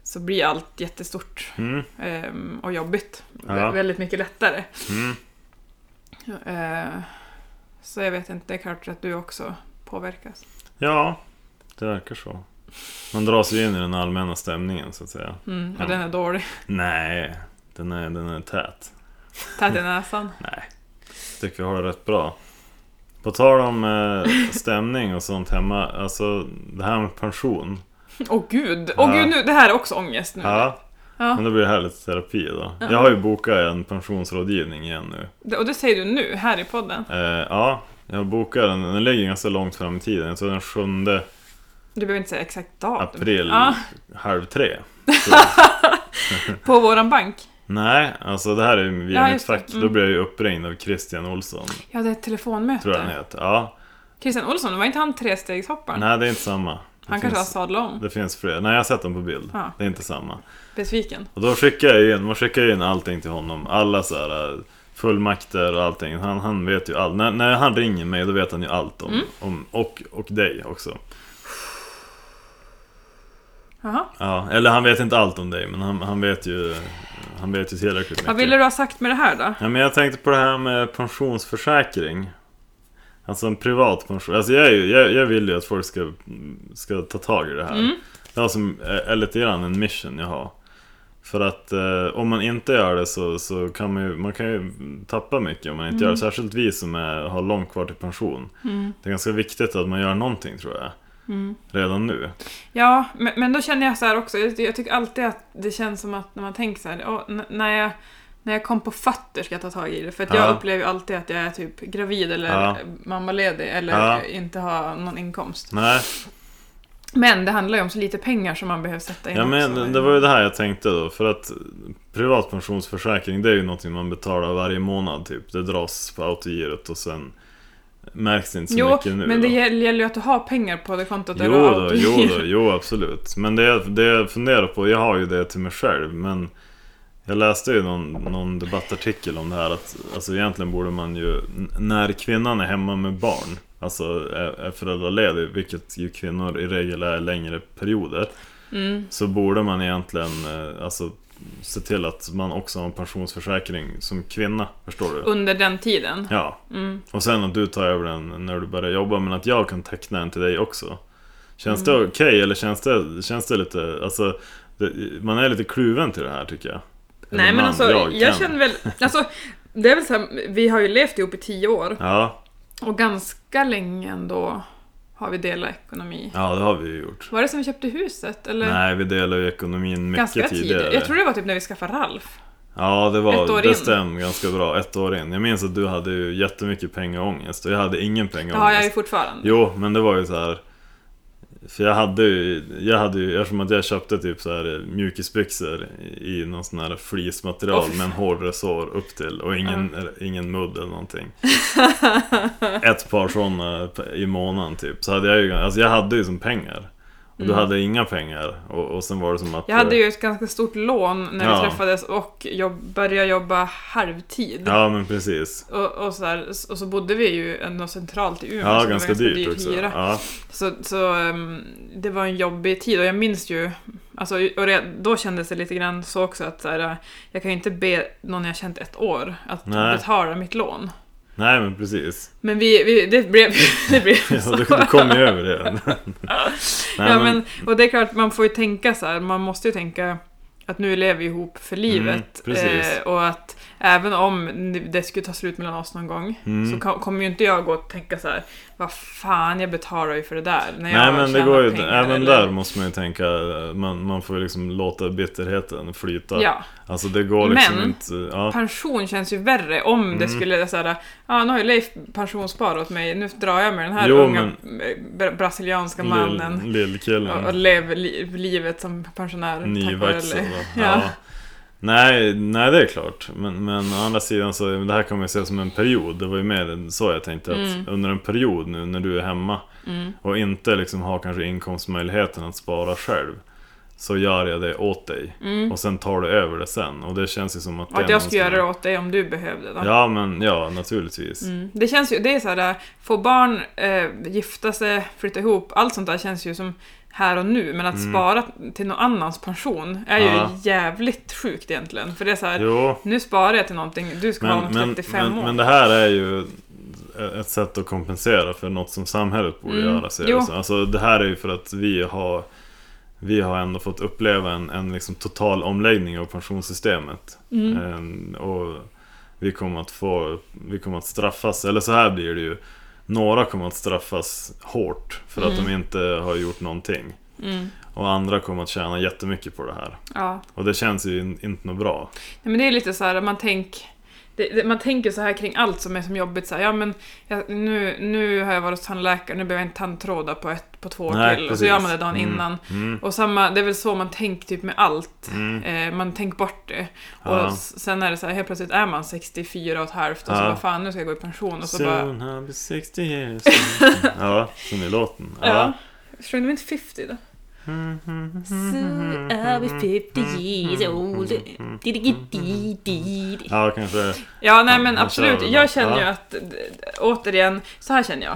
Så blir allt jättestort
Mm.
ehm, och jobbigt.
Ja.
Vä- Väldigt mycket lättare.
Mm.
Eh, så jag vet inte, det är klart att du också påverkas.
Ja, det verkar så. Man dras ju in i den allmänna stämningen så att säga.
Mm, och
Ja.
den är dålig.
Nej, den är, den är tät.
Tät i näsan.
Nej, jag tycker vi har det rätt bra. På tal om eh, stämning och sånt hemma, alltså det här med pension.
Åh gud! Åh
Ja.
gud, nu, det här är också ångest nu.
Ja, Men
Ja.
det blir härligt terapi då. Jag har ju bokat en pensionsrådgivning igen nu.
Det- Och det säger du nu, här i podden.
Eh, ja, jag bokar den. Den ligger ganska långt fram i tiden. Jag tror den 7
Du behöver inte säga exakt datum.
april,
Ja,
halv tre.
på våran bank.
Nej, alltså det här är ju via
Ja,
mitt
just det. Mm.
fack. Då blir jag ju uppringd av Christian Olsson,
Ja, det är ett telefonmöte.
tror jag han heter. Ja,
Christian Olsson, var inte han trestegshopparen?
nej det är inte samma. Det
han kanske har
finns,
sadlat om.
det finns fler. Nej, jag har sett dem på bild.
Ja.
Det är inte samma.
Besviken.
Och då skickar jag ju in, man skickar ju in allting till honom. Alla så här eh, fullmakter och allting. Han, han vet ju allt. När, när han ringer mig då vet han ju allt
Mm.
om, om och, och dig också.
Jaha.
Ja, eller han vet inte allt om dig, men han, han vet ju Han vet ju tillräckligt mycket.
Vad ville du ha sagt med det här då?
Ja, men jag tänkte på det här med pensionsförsäkring. Alltså en privat pension. Alltså jag, är ju, jag, jag vill ju att folk ska, ska ta tag i det här. Det är, som, är lite grann en mission jag har. För att eh, om man inte gör det så, så kan man ju, man kan ju tappa mycket om man inte gör det. Särskilt vi som är, har långt kvar till pension. Det är ganska viktigt att man gör någonting tror jag. Redan nu.
Ja, men, men då känner jag så här också. Jag, jag tycker alltid att det känns som att när man tänker så här, "Åh, n- när, jag, när jag kom på fötter ska jag ta tag i det. För att
Ja.
jag upplever ju alltid att jag är typ gravid eller
Ja.
mammaledig eller
Ja.
inte har någon inkomst.
Nej,
Men det handlar ju om så lite pengar som man behöver sätta in
Ja men
också.
det- det var ju det här jag tänkte då. För att privat pensionsförsäkring det är ju någonting man betalar varje månad typ. Det dras på autogirot och sen märks det inte så
Jo,
mycket nu.
men det
då.
gäller gäller ju att du har pengar på det kontot. där
Jo
du har
då,
allt.
jo då, jo absolut. Men det, jag- det jag funderar på, jag har ju det till mig själv men jag läste ju någon, någon debattartikel om det här att alltså egentligen borde man ju, n- när kvinnan är hemma med barn, alltså är, är föräldraledig, vilket ju kvinnor i regel är längre perioder,
Mm.
så borde man egentligen eh, alltså, se till att man också har en pensionsförsäkring som kvinna, förstår du?
Under den tiden.
Ja,
Mm.
och sen att du tar över den när du börjar jobba, men att jag kan teckna den till dig också. Känns
Mm.
det okej eller känns det, känns det lite, alltså, det, man är lite kluven till det här tycker jag. Eller
Nej men
man,
alltså, jag,
kan.
känner väl... Alltså, det är väl så här, vi har ju levt ihop i tio år.
Ja,
Och ganska länge ändå har vi delat ekonomi.
ja, det har vi ju gjort.
Var det sen vi köpte huset? Eller?
Nej, vi delar ju ekonomin mycket
Mm. ganska
tidigare.
tidigt. Jag tror det var typ när vi skaffade Ralf.
Ja, det var,
Ett år in.
det stämmer ganska bra. Ett år in. Jag minns att du hade ju jättemycket pengaångest och jag hade ingen
Det
pengaångest.
har jag ju fortfarande.
Jo, men det var ju så här. För jag hade ju, jag hade ju, eftersom att jag köpte typ så här eh, mjukisbyxor i någon sån här fleeceematerial
Åh, fy
med en hård resår upp till och ingen, eller ingen mudd eller någonting. Ett par sådana i månaden typ. Så hade jag ju, alltså jag hade ju som pengar. Och du hade inga pengar. Och, och sen var det som att...
Mm. Jag hade ju ett ganska stort lån när vi
Ja.
träffades och jag började jobba halvtid.
eh, Ja, men precis.
Och, och, så där, och så bodde vi ju ändå centralt i Umeå. så
Ja,
det var
ganska dyrt också.
hyra.
Ja,
Så, så ehm, det var en jobbig tid och jag minns ju, alltså, och det, då kändes det lite grann så också att så här, jag kan ju inte be någon jag känt ett år att
Nej.
betala mitt lån.
nej men precis.
Men vi, vi det blev det blev
Ja,
så.
du, du kom ju över det. Nej,
ja,
men-
men, och det är klart, man får ju tänka så här, man måste ju tänka att nu lever vi ihop för livet.
Mm, precis.
eh, och att även om det skulle ta slut mellan oss någon gång
mm.
så ka- kommer ju inte jag gå och tänka så här, vad fan jag betalar ju för det där. När
Nej
jag
men det
tjänar
går ju,
pengar",
även
eller-
där måste man ju tänka, man, man får ju liksom låta bitterheten flyta.
Ja,
Alltså det går liksom
Men-
inte, ja.
pension känns ju värre om det
Mm.
skulle så här, ja nu har ju Leif pensionsspar åt mig, nu drar jag med den här
Jo,
unga br- brasilianska mannen.
Lill-
Och, och
Lillkillen,
lev li, livet som pensionär. tack vare
nyvaxad.
Leif.
Ja.
Ja.
Nej, nej det är klart. Men, men å andra sidan så, det här kan man ju se som en period. Det var ju mer än så jag tänkte att
Mm.
under en period nu när du är hemma och inte liksom har kanske inkomstmöjligheten att spara själv. Så gör jag det åt dig. Och sen tar du över det sen. Och det känns ju som att
Mm. Och att jag skulle göra det
det
åt dig om du behövde då.
Ja men ja, naturligtvis.
Mm. Det känns ju, det är så här, få barn, eh, gifta sig, flytta ihop, allt sånt där känns ju som här och nu. Men att spara till någon annans pension är ju
Mm. Ja.
jävligt sjukt egentligen. För det är så här,
Jo,
nu sparar jag till någonting, du ska ha
men,
om
men,
35
men,
år.
men det här är ju ett sätt att kompensera för något som samhället borde
Mm,
göra. Ser
jo.
det, som. alltså, det här är ju för att vi har, vi har ändå fått uppleva en, en liksom total omläggning av pensionssystemet.
Mm.
Ehm, och vi kommer, att få, vi kommer att straffas, eller så här blir det ju. Några kommer att straffas hårt för att de inte har gjort någonting.
Mm.
Och andra kommer att tjäna jättemycket på det här.
Ja.
Och det känns ju in- inte något bra.
Nej, men det är lite så här, man tänk, det, det, man tänker så här kring allt som är som jobbigt. Så här, ja, men jag, nu, nu har jag varit hos tandläkaren, nu behöver jag inte tandtråda på, ett, på två år
Nej,
till. Och så
precis.
gör man det dagen
Mm.
innan.
Mm.
Och samma, det är väl så man tänker typ med allt.
Mm.
Eh, man tänker bort det. Och
Ja.
s- sen är det så här, helt plötsligt är man 64 och ett halvt och så
Ja.
bara fan, nu ska jag gå i pension. Och så bara,
Soon I'll be 60 years old. Ja, som i låten.
ja. Sjöng de inte 50 då?
Soon I'll be 50
Mm,
years old. Diddy-giddy-diddy.
Ja, kanske.
Ja, nej
Ja,
men
då kör
absolut.
vi då.
Jag känner ju
Ja.
att, d- d- återigen, så här känner jag.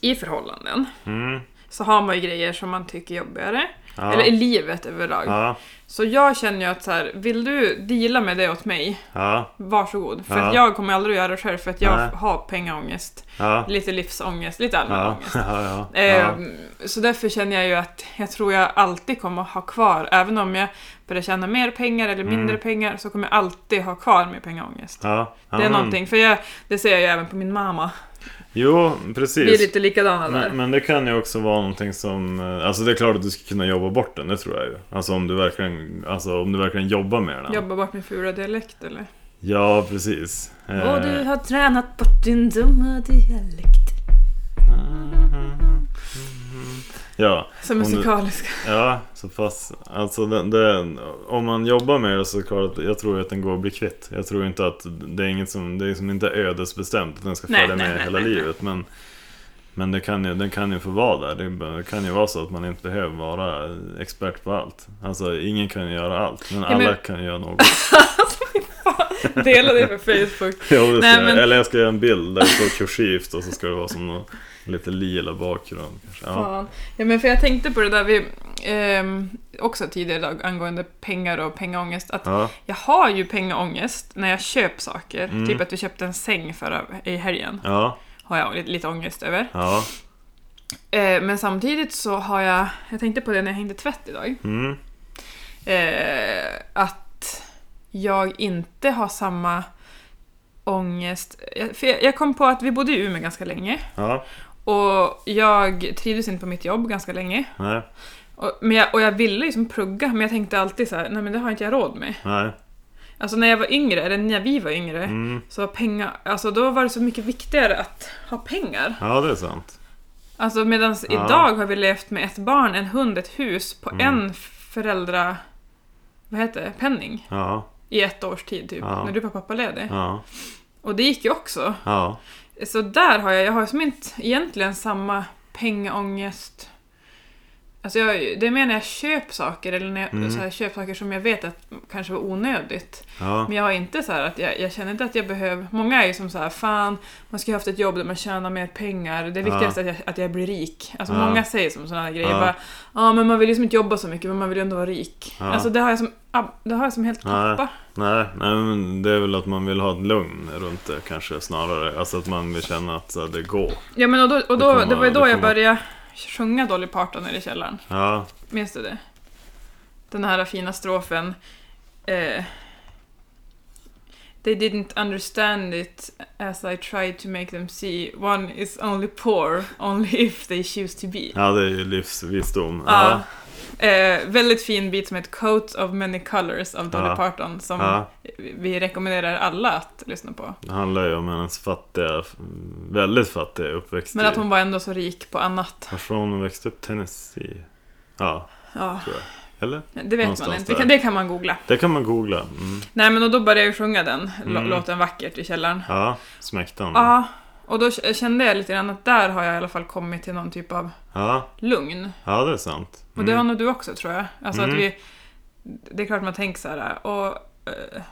I förhållanden
Mm.
så har man ju grejer som man tycker är jobbigare.
Ja.
Eller i livet överlag.
Ja,
Så jag känner ju att så här, vill du deala med det åt mig,
ja,
varsågod. För
Ja.
att jag kommer aldrig göra det själv för att jag
Nej.
har pengaångest,
ja.
lite livsångest, lite allmän
Ja,
ångest.
ja, ja. ja.
Ehm, Så därför känner jag ju att jag tror jag alltid kommer att ha kvar, även om jag börjar tjäna mer pengar eller mindre
Mm.
pengar, så kommer jag alltid ha kvar min pengaångest.
ja. ja,
Det är
men-
någonting, för jag, det ser jag ju även på min mamma.
Jo,
Vi är
precis.
lite likadana där.
Men, men det kan ju också vara någonting som... eh, Alltså det är klart att du ska kunna jobba bort den, det tror jag ju. Alltså om du verkligen, alltså, om du verkligen jobbar med den.
Jobba bort min fula dialekt eller?
Ja, precis.
Och
Eh,
du har tränat bort din dumma dialekt.
Mm-hmm. Ja,
Som
Om du-
musikalisk.
ja, så pass. Alltså den, den, om man jobbar med det så är det klart att jag tror att den går att bli kvitt. Jag tror inte att det är inget som, det är liksom inte ödesbestämt att den ska
Nej,
följa
nej,
med
nej,
hela
nej, nej.
livet. Men, men det kan ju, den kan ju få vara där. Det är bara- Det kan ju vara så att man inte behöver vara expert på allt. Alltså ingen kan ju göra allt, men
men-
alla kan göra något.
Alltså, Dela det på Facebook.
Ja, det ska
Nej,
jag.
men-
Eller jag ska göra en bild där det står kursivt och så ska det vara som någon lite lila bakgrund. Kanske. Ja.
Fan. Ja, men för jag tänkte på det där vi, ehm, också tidigare idag angående pengar och pengaångest. Att
Ja.
jag har ju pengaångest när jag köper saker.
Mm.
Typ att vi köpte en säng förra i helgen.
Ja,
Har jag lite, lite ångest över.
ja,
Eh, men samtidigt så har jag, jag tänkte på det när jag hängde tvätt idag.
mm,
Eh, att jag inte har samma ångest. Jag- För jag, jag kom på att vi bodde i Umeå ganska länge.
ja,
Och jag trivdes inte på mitt jobb ganska länge.
nej,
Och, men jag, och jag ville liksom plugga, men jag tänkte alltid så här, nej men det har inte jag råd med.
nej,
Alltså när jag var yngre, eller när vi var yngre,
mm.
så var pengar, alltså då var det så mycket viktigare att ha pengar.
Ja, det är sant.
Alltså medan
Ja. Mm.
idag har vi levt med ett barn, en hund, ett hus på en föräldra... Vad heter det? Penning.
Ja,
I ett års tid typ,
Ja.
när du var pappaledig.
ja,
Och det gick ju också.
ja,
Så där har jag, jag har som inte egentligen samma pengaångest. Alltså jag, det är mer när jag köper saker eller när jag
Mm.
så här, köper saker som jag vet att kanske var onödigt.
ja,
Men jag har inte så här att jag, jag känner inte att jag behöver, många är ju som så här, fan man ska ju haft ett jobb där man tjänar mer pengar, det
Ja.
viktigaste är att jag, att jag blir rik. Alltså
Ja.
många säger som sådana grejer,
Ja.
bara ja men man vill ju som inte jobba så mycket men man vill ju ändå vara rik.
Ja.
Alltså det har jag som, ab- det har jag som helt
Ja.
tappat.
nej, nej, men det är väl att man vill ha ett lugn runt det kanske snarare. Alltså att man vill känna att så, det går.
Ja men och då, och
Det
då, det,
kommer-
var ju då
det
jag
kommer-
började sjunga Dolly Parton nere i källaren.
Ja,
Minns du det? Den här fina strofen. Eh, They didn't understand it as I tried to make them see. One is only poor, only if they choose to be.
ja, det är ju livsvisdom.
Ja.
Ja,
Eh, väldigt fin bit som heter Coat of Many Colors av Dolly
Ja.
Parton som
ja.
vi rekommenderar alla att lyssna på.
Det handlar ju om hennes fattiga, mm, väldigt fattiga uppväxt.
Men att
i-
hon var ändå så rik på annat.
Varför har hon växt upp? Tennessee? Ja,
Ja,
eller?
det vet man
Någonstans
inte. Det
där.
kan, det kan man googla.
Det kan man googla. Mm.
Nej men och då började jag ju sjunga den lo-
Mm.
låten vackert i källaren.
Ja, smäktan.
Ja, och då k- kände jag lite grann att där har jag i alla fall kommit till någon typ av
Ja,
lugn.
ja, det är sant.
Och det har nog du också tror jag. Alltså att
Mm.
vi... Det är klart man tänker så här, och... eh,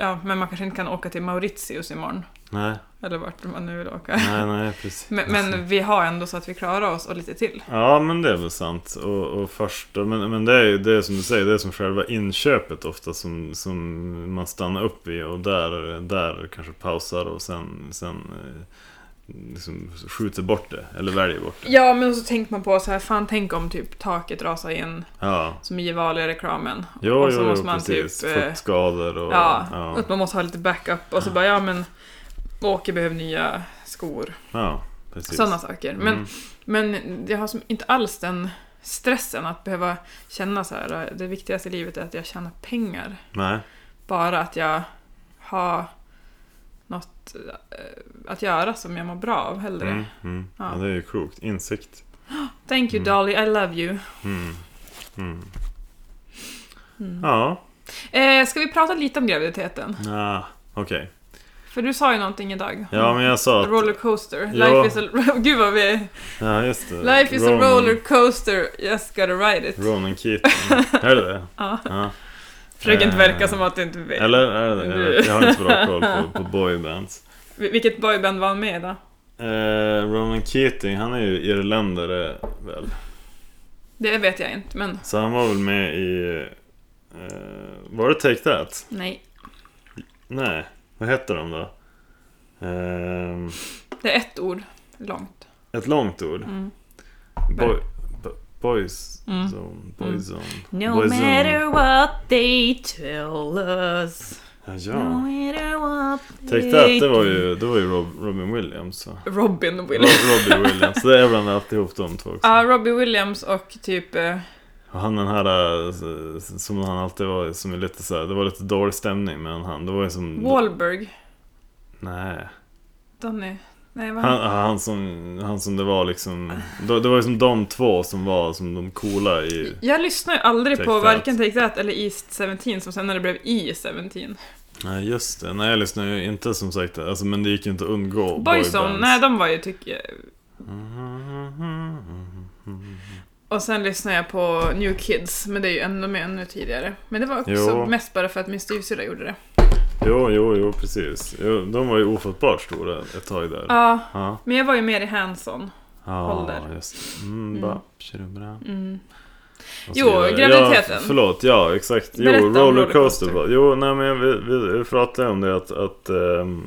Ja, men man kanske inte kan åka till Mauritius imorgon.
Nej,
Eller vart man nu vill åka.
nej, nej, precis.
Men, men vi har ändå så att vi klarar oss och lite till.
Ja, men det är väl sant. Och, och första, men, men det är ju det är som du säger, det är som själva inköpet ofta som, som man stannar upp i och där, där kanske pausar och sen, sen eh, liksom skjuter bort det, eller väljer bort det.
Ja, men så tänker man på så här, fan tänk om typ taket rasar in
Ja,
som i Gevalia-reklamen.
jo,
Och så
jo,
måste
jo
man
precis.
typ, eh,
Fuktskador och...
Ja,
ja,
att man måste ha lite backup och så bara, ja men Åke behöver nya skor.
ja precis.
Sådana saker. Men,
Mm.
men jag har som inte alls den stressen att behöva känna så här. Det viktigaste i livet är att jag tjänar pengar.
Nej.
Bara att jag har något eh, att göra som jag mår bra av hellre.
Mm, mm. Ja.
Ja.
det är ju klokt. Insikt.
Thank you Dolly, I love you.
Mm. Mm. Ja,
Eh, ska vi prata lite om graviditeten?
ah, okej.
För du sa ju någonting idag.
Ja, men jag sa
A
att...
rollercoaster.
Ja. Eh,
Life is a... Gud vad vi är.
Ja, just det.
Life is
Ronan-
a rollercoaster, just gotta ride it.
Ronan Keating. är det det?
Ja.
ja.
Försök inte
Eh,
verka som att du inte vet.
Eller är det det? Jag vet- Jag har inte så bra koll på, på boybands.
Vil- Vilket boyband var han med i då?
Eh, Ronan Keating, han är ju irländare väl?
Det vet jag inte, men
Så han var väl med i... Eh, var det Take That?
nej.
Nej, vad hette de då? Ehm,
Det är ett ord långt.
ett långt ord.
Mm.
Boy, bo, boys
Mm.
zone, boys zone.
No
boys zone.
matter what they tell us.
Ja,
No
ja.
matter what
Take That, det var ju, det var ju Rob, Robin Williams. Så.
Robin Williams.
Rob, Robbie Williams, det är bland alltihop de två också.
Ja, Robbie Williams och typ... eh,
Och han den här eh, s- som han alltid var, som är lite så här, det var lite dålig stämning mellan han. Det var ju som...
Wahlberg.
Nej.
Donny. Nej, vad
Han, han, som, han som det var liksom... Det, det var ju som de två som var som de coola i...
Jag lyssnar ju aldrig
Take
på
That.
varken Take That eller East 17 som sen när det blev E E17.
Nej just det, nej jag lyssnar ju inte som sagt alltså, men det gick ju inte att undgå
Boyzone,
boybands.
nej de var ju tycker Och sen lyssnar jag på New Kids, men det är ju ändå med ännu tidigare. Men det var också
Jo. Mm.
mest bara för att min styvsyrra gjorde det.
Jo, jo, jo precis. Jo, de var ju ofattbart stora ett tag där.
Ja,
Ja,
men jag var ju mer i Hanson.
ja
Ålder.
just det. Mm, ba, tjurubra.
Mm.
Och så
Jo,
vidare. Ja,
graviditeten.
förlåt, ja exakt. Jo,
Berätta om
rollercoaster.
rollercoaster.
var- Jo, nej men vi, vi pratade om det att, att ehm,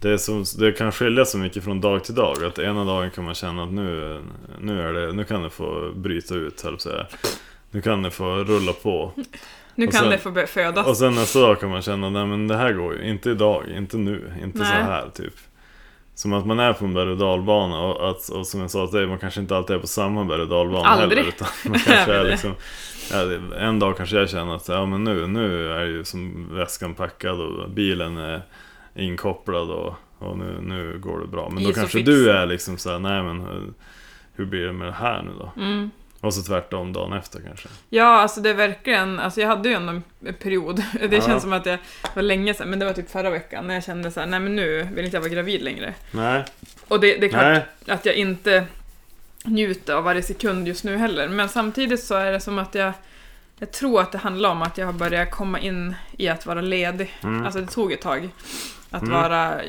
det, är som, det kan skilja så mycket från dag till dag. Att ena dagen kan man känna att nu, nu, är det, nu kan det få bryta ut, höll jag på att säga. Nu kan det få rulla på.
Nu
Och
kan
sen-
det få börja födas.
Och sen nästa dag kan man känna, nej men det här går ju, inte idag, inte nu, inte så
Nej.
här typ. Som att man är på en berg och dalbana och, att, och som jag sa till dig, man kanske inte alltid är på samma berg och dalbana
Aldrig.
heller. Utan man kanske är
Aldrig.
liksom, ja, det- en dag kanske jag känner att ja, men nu, nu är ju som väskan packad och bilen är inkopplad och, och nu, nu går det bra. Men då
Is och
kanske
fix.
du är liksom såhär, nej men hur- hur blir det med det här nu då?
Mm.
Och så tvärtom dagen efter kanske.
Ja, alltså det är verkligen, alltså jag hade ju ändå en period, det
Ja.
känns som att jag var länge sedan, men det var typ förra veckan när jag kände så här, nej men nu vill inte jag vara gravid längre.
Nej,
Och det, det är klart
nej,
att jag inte njuter av varje sekund just nu heller. Men samtidigt så är det som att jag, jag tror att det handlar om att jag har börjat komma in i att vara ledig.
Mm.
Alltså det tog ett tag. Att
Mm.
vara,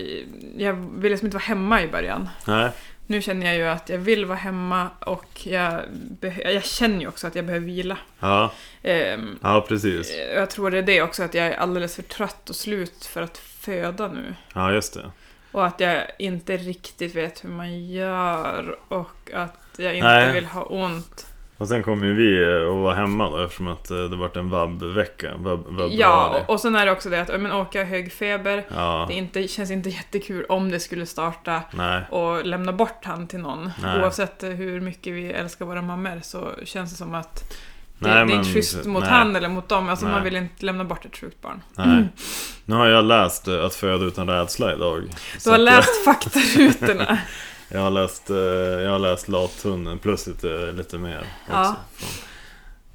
jag ville liksom inte vara hemma i början.
nej.
Nu känner jag ju att jag vill vara hemma och jag, beh- jag känner ju också att jag behöver vila.
Ja,
Ehm,
ja precis.
jag tror det är det också, att jag är alldeles för trött och slut för att föda nu.
Ja, just det.
Och att jag inte riktigt vet hur man gör och att jag inte
Nej.
vill ha ont.
Och sen kom ju vi eh, att vara hemma då eftersom att eh, det vart en vabb-vecka. Vabb, vabb
Ja, och- och sen är det också det att ja, men, åka hög feber,
ja.
det är inte, känns inte jättekul om det skulle starta
Nej,
och lämna bort han till någon.
Nej.
Oavsett hur mycket vi älskar våra mammor så känns det som att det,
Nej,
det är
men-
inte schysst mot
nej.
han eller mot dem. Alltså
Nej.
man vill inte lämna bort ett sjukt barn.
nej. Nu har jag läst eh, Att föda utan rädsla idag.
Du
Så
har
att
läst faktarutorna.
Jag, jag har läst, eh, jag har läst Lathunden plus lite, lite mer också.
Ja.
Från-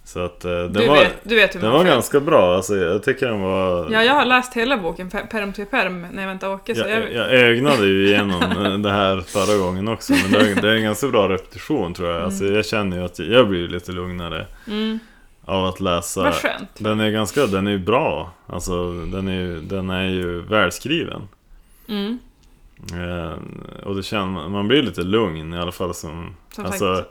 Så att eh, den
Du,
var,
vet, du vet hur
den
man
var
föds.
ganska bra. Alltså, jag tycker den var...
Ja, jag har läst hela boken, pe- perm till perm när jag väntade Åke. Så
Jag,
jag,
jag, ögnade ju igenom eh, det här förra gången också men det är, det är en ganska bra repetition tror jag. Alltså, jag känner ju att jag blir lite lugnare
mm,
av att läsa
vad skönt.
Den är ganska, den är ju bra. Alltså den är ju, den är ju välskriven.
Mm,
Eh, och det känner, man blir lite lugn i alla fall som...
som
alltså,
sagt.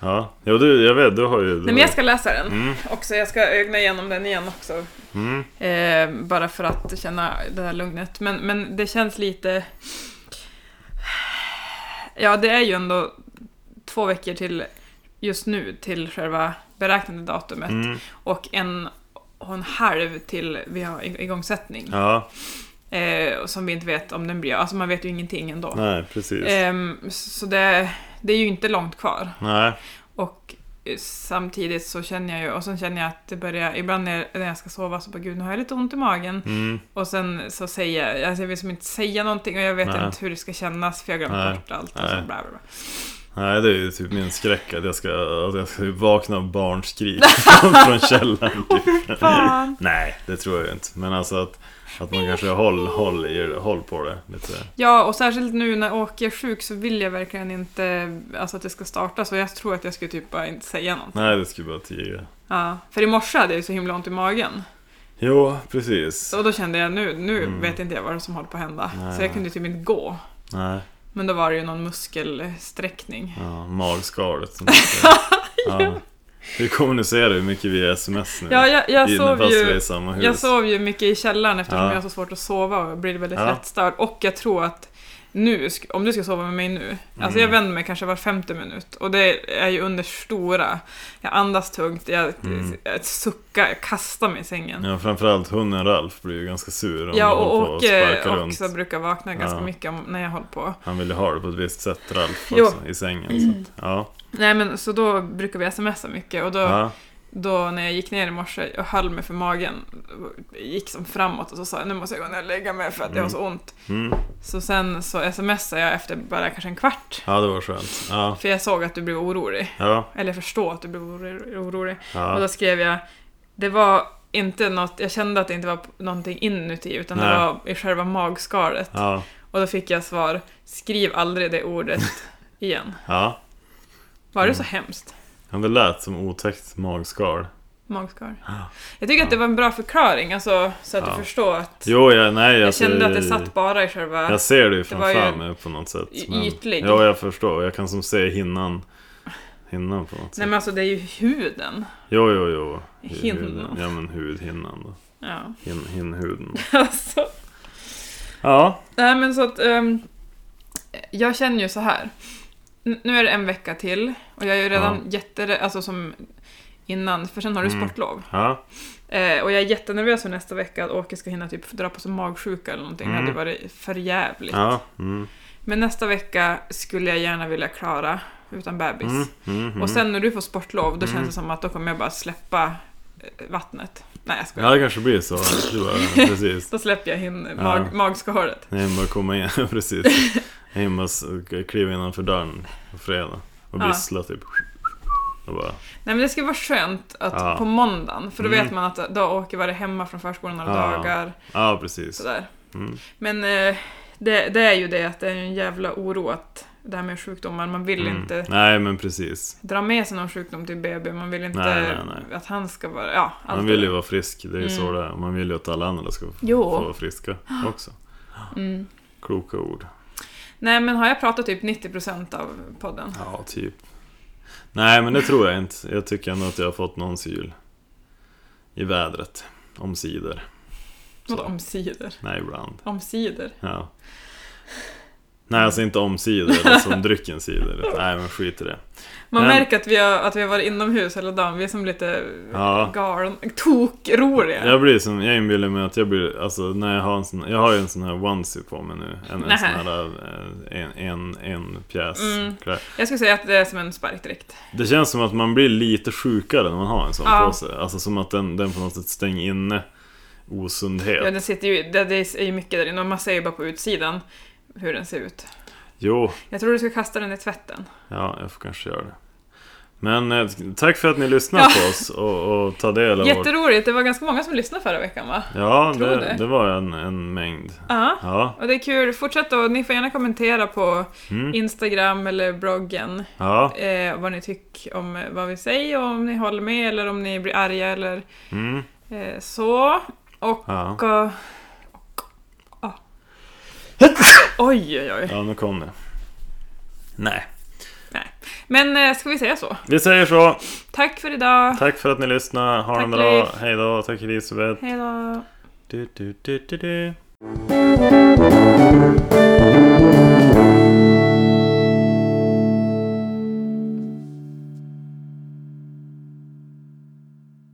ja. Jo, du, jag vet, du har ju... Du
Nej, men jag ska läsa den
Mm,
också. Jag ska ögna igenom den igen också.
mm,
Eh, bara för att känna det här lugnet. Men, men det känns lite... Ja, det är ju ändå två veckor till just nu till själva beräknade datumet
mm,
och en och en halv till vi har ig- igångsättning.
ja,
Eh, och som vi inte vet om den blir. Alltså man vet ju ingenting ändå.
nej precis.
Ehm, så det, det är ju inte långt kvar.
Nej,
Och eh, samtidigt så känner jag ju, och sen känner jag att det börjar, ibland när när jag ska sova så bara gud nu har jag lite ont i magen.
Mm.
Och sen så säger jag, alltså jag vill som inte säga någonting och jag vet
Nej.
inte hur det ska kännas för jag har
Nej.
glömt bort allt. Och så,
Nej.
bla, bla, bla.
Nej, det är ju typ min skräck att jag ska, att jag ska vakna av barnskrik från källaren. Typ.
Fan.
Nej, det tror jag inte. Men alltså att, att man kanske håll, håll, i- håll på det lite.
Ja, och särskilt nu när Åke är sjuk så vill jag verkligen inte alltså, att det ska starta så jag tror att jag skulle typ bara inte säga någonting.
Nej, det skulle bara tiga.
Ja, för i morse hade jag ju så himla ont i magen.
Jo, precis.
Så då kände jag nu, nu
Mm.
vet inte jag vad som håller på att hända.
Nej,
så jag
nej.
kunde typ inte gå.
Nej,
Men då var det ju någon muskelsträckning.
ja, magskalet. som det heter. Ja. Vi kommunicerar ju mycket via sms nu.
Ja, jag, jag,
I-
sov
fast vi är i
ju,
samma hus.
jag sov ju mycket i källaren eftersom
Ja.
jag har så svårt att sova och blir väldigt
Ja.
lättstörd. Och jag tror att nu, sk- om du ska sova med mig nu, alltså
Mm.
jag vänder mig kanske var femte minut och det är ju under stora. Jag andas tungt, jag,
Mm.
jag suckar, jag kastar mig i sängen.
Ja, framförallt hunden Ralf blir ju ganska sur om
Ja,
du håller
och
på och
Åke
sparkar runt.
också brukar vakna ganska
Ja.
mycket om, när jag håller på.
Han ville ha det på ett visst sätt, Ralf,
Jo.
också, i sängen. Så att, ja.
Nej men så då brukar vi smsa mycket och då,
Ja.
då när jag gick ner i morse och höll mig för magen, gick som framåt och så sa jag nu måste jag gå ner och lägga mig för att jag har så ont.
Mm.
Så sen så smsade jag efter bara kanske en kvart.
ja, det var skönt. Ja,
För jag såg att du blev orolig.
ja,
Eller jag förstår att du blev oro- orolig. Och
ja.
då skrev jag, det var inte något, jag kände att det inte var p- någonting inuti utan det
Nej.
var i själva magskalet.
ja,
Och då fick jag svar, skriv aldrig det ordet igen.
ja.
Var
Mm.
det så hemskt?
Men det lät som otäckt magskal.
Magskar. Jag tycker att det var en bra förklaring, alltså, så att
Ja.
du förstår att...
Jo, jag, nej,
jag
alltså,
kände att det satt bara i själva...
Jag ser det ju
var ju
framför mig på något sätt.
y- ytlig.
Ja, jag förstår. Jag kan som se hinnan. Hinnan på något sätt.
Nej men alltså det är ju huden.
Jo, jo, jo. Hu-
Hinnan.
huden. Ja, men hudhinnan då.
Ja.
Hin, hinnhuden.
alltså,
Ja.
nej men så att... ehm, jag känner ju så här. N- nu är det en vecka till och jag är ju redan jätte... Alltså som innan, för sen har du
Mm.
sportlov.
Ja.
Eh, och jag är jättenervös för nästa vecka att Åke ska hinna typ dra på sig magsjuka eller någonting.
Mm.
Det hade varit för jävligt.
Ja. Mm.
Men nästa vecka skulle jag gärna vilja klara utan bebis.
Mm. Mm. Mm.
Och sen när du får sportlov, då
Mm.
känns det som att då kommer jag bara släppa eh, vattnet. Nej, jag skojar.
Ja, det kanske blir så. Det var, precis.
Då släpper jag hin
Ja.
mag, magskalet.
Jag hinner bara komma in. precis. Jag hinner bara s- kliva innanför dörren på fredag. Och
Ja.
vissla typ. Och bara,
Nej, men det ska vara skönt att
Ja.
på måndagen, för då
Mm.
vet man att då åker varit hemma från förskolan några
Ja.
dagar.
ja, precis.
Sådär.
Mm.
Men eh, det, det är ju det att det är en jävla oro att det här med sjukdomar, man vill
Mm.
inte
Nej, men precis.
dra med sig någon sjukdom till BB, man vill inte
Nej, nej,
att han ska vara... Ja, allt
Man
det
vill ju
där.
vara frisk, det är ju så
Mm.
det är. Man vill ju att alla andra ska f-
Jo.
få vara friska också.
Mm.
Kloka ord.
Nej, men har jag pratat typ 90% av podden?
Ja, typ. Nej, men det tror jag inte. Jag tycker ändå att jag har fått någon syl. I vädret. Omsider. Så.
Vadå omsider?
Nej, ibland.
Omsider?
Ja. Nej, alltså inte omsider, alltså om drycken sidor. Nej, men skit i det.
Man
Men-
märker att vi, har, att vi har varit inomhus hela dagen, vi är som lite
Ja.
galen, tokroliga.
Jag blir som, jag inbillar mig att jag blir, alltså när jag har en sån, jag har ju en sån här onesie på mig nu. En, en
Nähä.
sån här, eh, en, en, en pjäs.
Mm.
klä-
Jag skulle säga att det är som en sparkdräkt.
Det känns som att man blir lite sjukare när man har en sån
Ja.
på sig. Alltså som att den, den på något sätt stänger inne osundhet.
Ja, den sitter ju, det, det är ju mycket där inne och man ser ju bara på utsidan hur den ser ut.
Jo,
Jag tror du ska kasta den i tvätten.
ja, jag får kanske göra det. Men eh, tack för att ni lyssnar på oss och, och tar del av vårt...
Jätteroligt, det var ganska många som lyssnade förra veckan va?
Ja,
tror
det,
det.
det var en, en mängd.
Ja.
Ja,
Och det är kul, fortsätt och ni får gärna kommentera på
mm,
Instagram eller bloggen
ja,
eh, vad ni tycker om eh, vad vi säger och om ni håller med eller om ni blir arga eller
mm,
eh, så. Och
ja.
Och... och ah. Oj, oj, oj.
ja, nu kom det. Nej,
Men eh, ska vi säga så?
vi säger så.
Tack för idag.
Tack för att ni lyssnade. Ha
Tack,
en bra.
Liv.
Hej då. Tack Elisabeth.
Hej då.
Du, du, du, du, du.